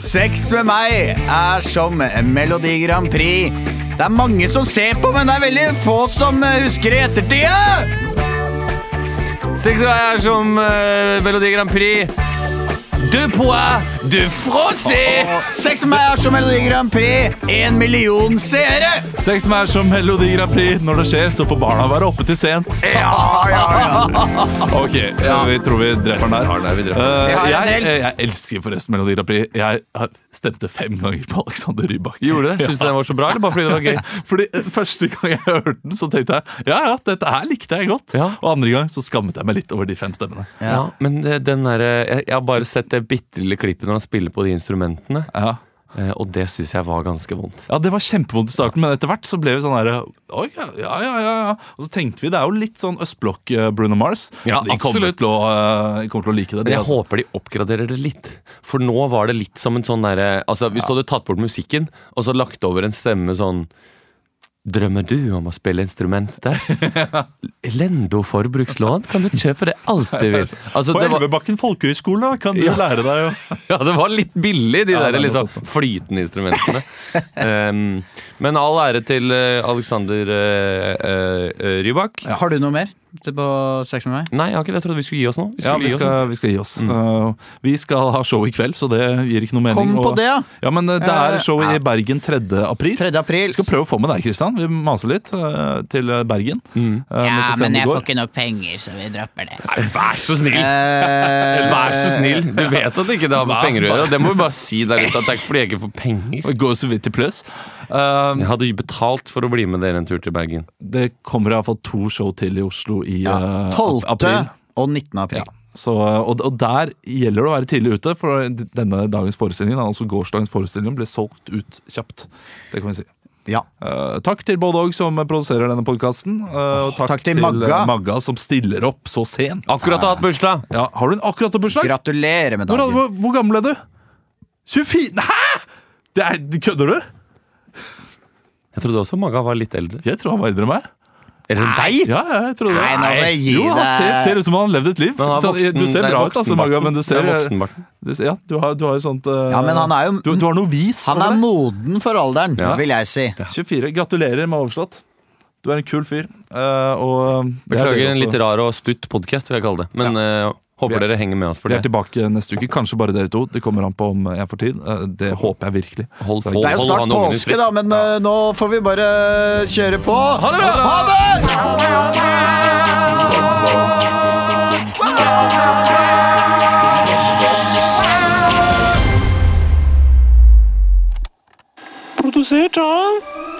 [SPEAKER 2] Sex med meg er som Melodi Grand Prix. Det er mange som ser på, men det er veldig få som eh, husker i ettertida!
[SPEAKER 1] Sex med meg er som eh, Melodi Grand Prix. De pois, de français!
[SPEAKER 2] Sex med meg er som Melodi Grand Prix. Én million seere!
[SPEAKER 3] Sex med meg er som Melodi Grand Prix. Når det skjer, så får barna være oppe til sent. Ok, eh, vi tror vi dreper den der.
[SPEAKER 1] Nei, vi dreper.
[SPEAKER 3] Eh,
[SPEAKER 2] Vi har en
[SPEAKER 3] jeg,
[SPEAKER 2] del.
[SPEAKER 3] eh, jeg elsker forresten Melodi Grand Prix. Jeg har- stemte fem ganger på Alexander Rybak.
[SPEAKER 1] Gjorde det? Syns du den var så bra, eller bare fordi det var gøy?
[SPEAKER 3] Fordi eh, Første gang jeg hørte den, så tenkte jeg ja, ja, dette her likte jeg godt.
[SPEAKER 1] Ja.
[SPEAKER 3] Og andre gang så skammet jeg meg litt over de fem stemmene.
[SPEAKER 1] Ja, men eh, den der, eh, jeg, jeg har bare sett det bitte lille klippet når han spiller på de instrumentene,
[SPEAKER 3] Ja,
[SPEAKER 1] eh, og det syns jeg var ganske vondt.
[SPEAKER 3] ja Det var kjempevondt i starten, men etter hvert så ble vi sånn herre Oi, ja, ja, ja, ja, ja. Og så tenkte vi det er jo litt sånn østblokk-Bruno Mars.
[SPEAKER 1] Ja,
[SPEAKER 3] så de kommer
[SPEAKER 1] absolutt.
[SPEAKER 3] til, å, eh, kommer til å like det.
[SPEAKER 1] Men
[SPEAKER 3] De,
[SPEAKER 1] jeg
[SPEAKER 3] altså.
[SPEAKER 1] håper de oppgraderer det litt. For nå var det litt som en sånn derre altså, Hvis du hadde tatt bort musikken, og så lagt over en stemme sånn Drømmer du om å spille instrumentet? Lendo forbrukslån? Kan du kjøpe det alt du vil? Altså,
[SPEAKER 3] På
[SPEAKER 1] det, var,
[SPEAKER 3] Elvebakken folkehøgskole da, kan du lære deg jo
[SPEAKER 1] ja, det var litt billig, de
[SPEAKER 3] Ja, det
[SPEAKER 1] der
[SPEAKER 3] er
[SPEAKER 1] liksom,
[SPEAKER 3] noe sånt. altså.
[SPEAKER 1] flytende instrumentene. Em, men all ære til eh, Alexander eh, eh, Rybak.
[SPEAKER 2] Har du noe mer på sex med meg?
[SPEAKER 1] Nei, jeg har ikke det. Jeg trodde vi skulle gi oss nå. Vi
[SPEAKER 3] Ja,
[SPEAKER 1] skulle
[SPEAKER 3] vi
[SPEAKER 1] gi oss Mm.
[SPEAKER 3] skal, vi skal gi oss. Uh, vi skal ha show i kveld, så det gir ikke noe mening.
[SPEAKER 2] Kom på
[SPEAKER 3] og-
[SPEAKER 2] det, ja!
[SPEAKER 3] Ja, men uh, det
[SPEAKER 2] Eh,
[SPEAKER 3] er show
[SPEAKER 2] ja.
[SPEAKER 3] i Bergen 3. april.
[SPEAKER 2] 3. april.
[SPEAKER 3] Vi skal prøve å få med deg, Kristian. Vi maser litt uh, til uh, Bergen.
[SPEAKER 1] Mm.
[SPEAKER 3] Uh, vi får se om det går.
[SPEAKER 4] ikke nok penger, så vi dropper det.
[SPEAKER 1] Nei, vær så snill!
[SPEAKER 2] Eh.
[SPEAKER 1] Vær så snill! Du
[SPEAKER 3] Eh,
[SPEAKER 1] vet at ikke det har med
[SPEAKER 3] Vær
[SPEAKER 1] penger å gjøre. Det må vi bare si der ute at det er ikke fordi jeg ikke får penger.
[SPEAKER 3] Vi går så vidt i pluss. Uh,
[SPEAKER 1] Jeg hadde jo betalt for å bli med dere en tur til Bergen.
[SPEAKER 3] det kommer iallfall to show til i Oslo i uh, ap-
[SPEAKER 2] 12.
[SPEAKER 3] april.
[SPEAKER 2] og 19. april.
[SPEAKER 3] Så, uh, og, og der gjelder det å være tidlig ute, for denne dagens forestilling, altså gårsdagens forestilling, ble solgt ut kjapt. Det kan vi si.
[SPEAKER 2] Ja.
[SPEAKER 3] Eh, takk til både og som produserer denne podkasten. og takk,
[SPEAKER 2] takk til
[SPEAKER 3] eh,
[SPEAKER 2] Magga.
[SPEAKER 3] Magga som stiller opp så sent.
[SPEAKER 1] Akkurat har hatt bursdag!
[SPEAKER 3] Ja, har du en akkurat en bursdag?
[SPEAKER 2] Gratulerer med
[SPEAKER 3] Hvor,
[SPEAKER 2] dagen.
[SPEAKER 3] hvor, hvor gammel er du? 24 Hæ?! Det er, kødder du?
[SPEAKER 1] Jeg trodde også Magga var litt eldre.
[SPEAKER 3] Jeg tror han var eldre enn meg.
[SPEAKER 1] Eller deg!
[SPEAKER 3] Ja, jeg trodde det.
[SPEAKER 2] Nei, nå må jeg gi
[SPEAKER 3] jo, han ser,
[SPEAKER 2] deg-
[SPEAKER 3] ser ut som han har levd et liv.
[SPEAKER 1] Men han er
[SPEAKER 3] Så han- du
[SPEAKER 1] voksen-
[SPEAKER 3] ser
[SPEAKER 1] det er
[SPEAKER 3] bra ut, altså,
[SPEAKER 1] voksenbarten.
[SPEAKER 3] Magga, men du ser
[SPEAKER 1] Det er voksenbarten.
[SPEAKER 3] du, ser- Ja, du har, du har jo sånt eh,
[SPEAKER 2] Ja, men han er jo-
[SPEAKER 3] du, du har noe vist.
[SPEAKER 2] Han er
[SPEAKER 3] over deg.
[SPEAKER 2] moden for alderen,
[SPEAKER 1] Ja.
[SPEAKER 2] vil jeg si.
[SPEAKER 3] 24. Gratulerer med overslått. Du er en kul fyr. eh, og det er
[SPEAKER 1] Beklager
[SPEAKER 3] dere
[SPEAKER 1] en
[SPEAKER 3] også.
[SPEAKER 1] litt rar og stutt podkast, vil jeg kalle det. Men eh,
[SPEAKER 3] Vi er-
[SPEAKER 1] håper dere henger med oss for
[SPEAKER 3] Vi er
[SPEAKER 1] det.
[SPEAKER 3] tilbake neste uke. Kanskje bare dere to. Det kommer an på om jeg får tid. Eh, Det håper jeg virkelig.
[SPEAKER 1] Hold,
[SPEAKER 3] Det
[SPEAKER 2] Det
[SPEAKER 1] hold,
[SPEAKER 3] er
[SPEAKER 2] er jo
[SPEAKER 1] hold
[SPEAKER 2] snart
[SPEAKER 1] han ungen i
[SPEAKER 2] påske,
[SPEAKER 1] fred.
[SPEAKER 2] da, men eh, nå får vi bare kjøre på. Ha det! Ha det!
[SPEAKER 8] Produsert av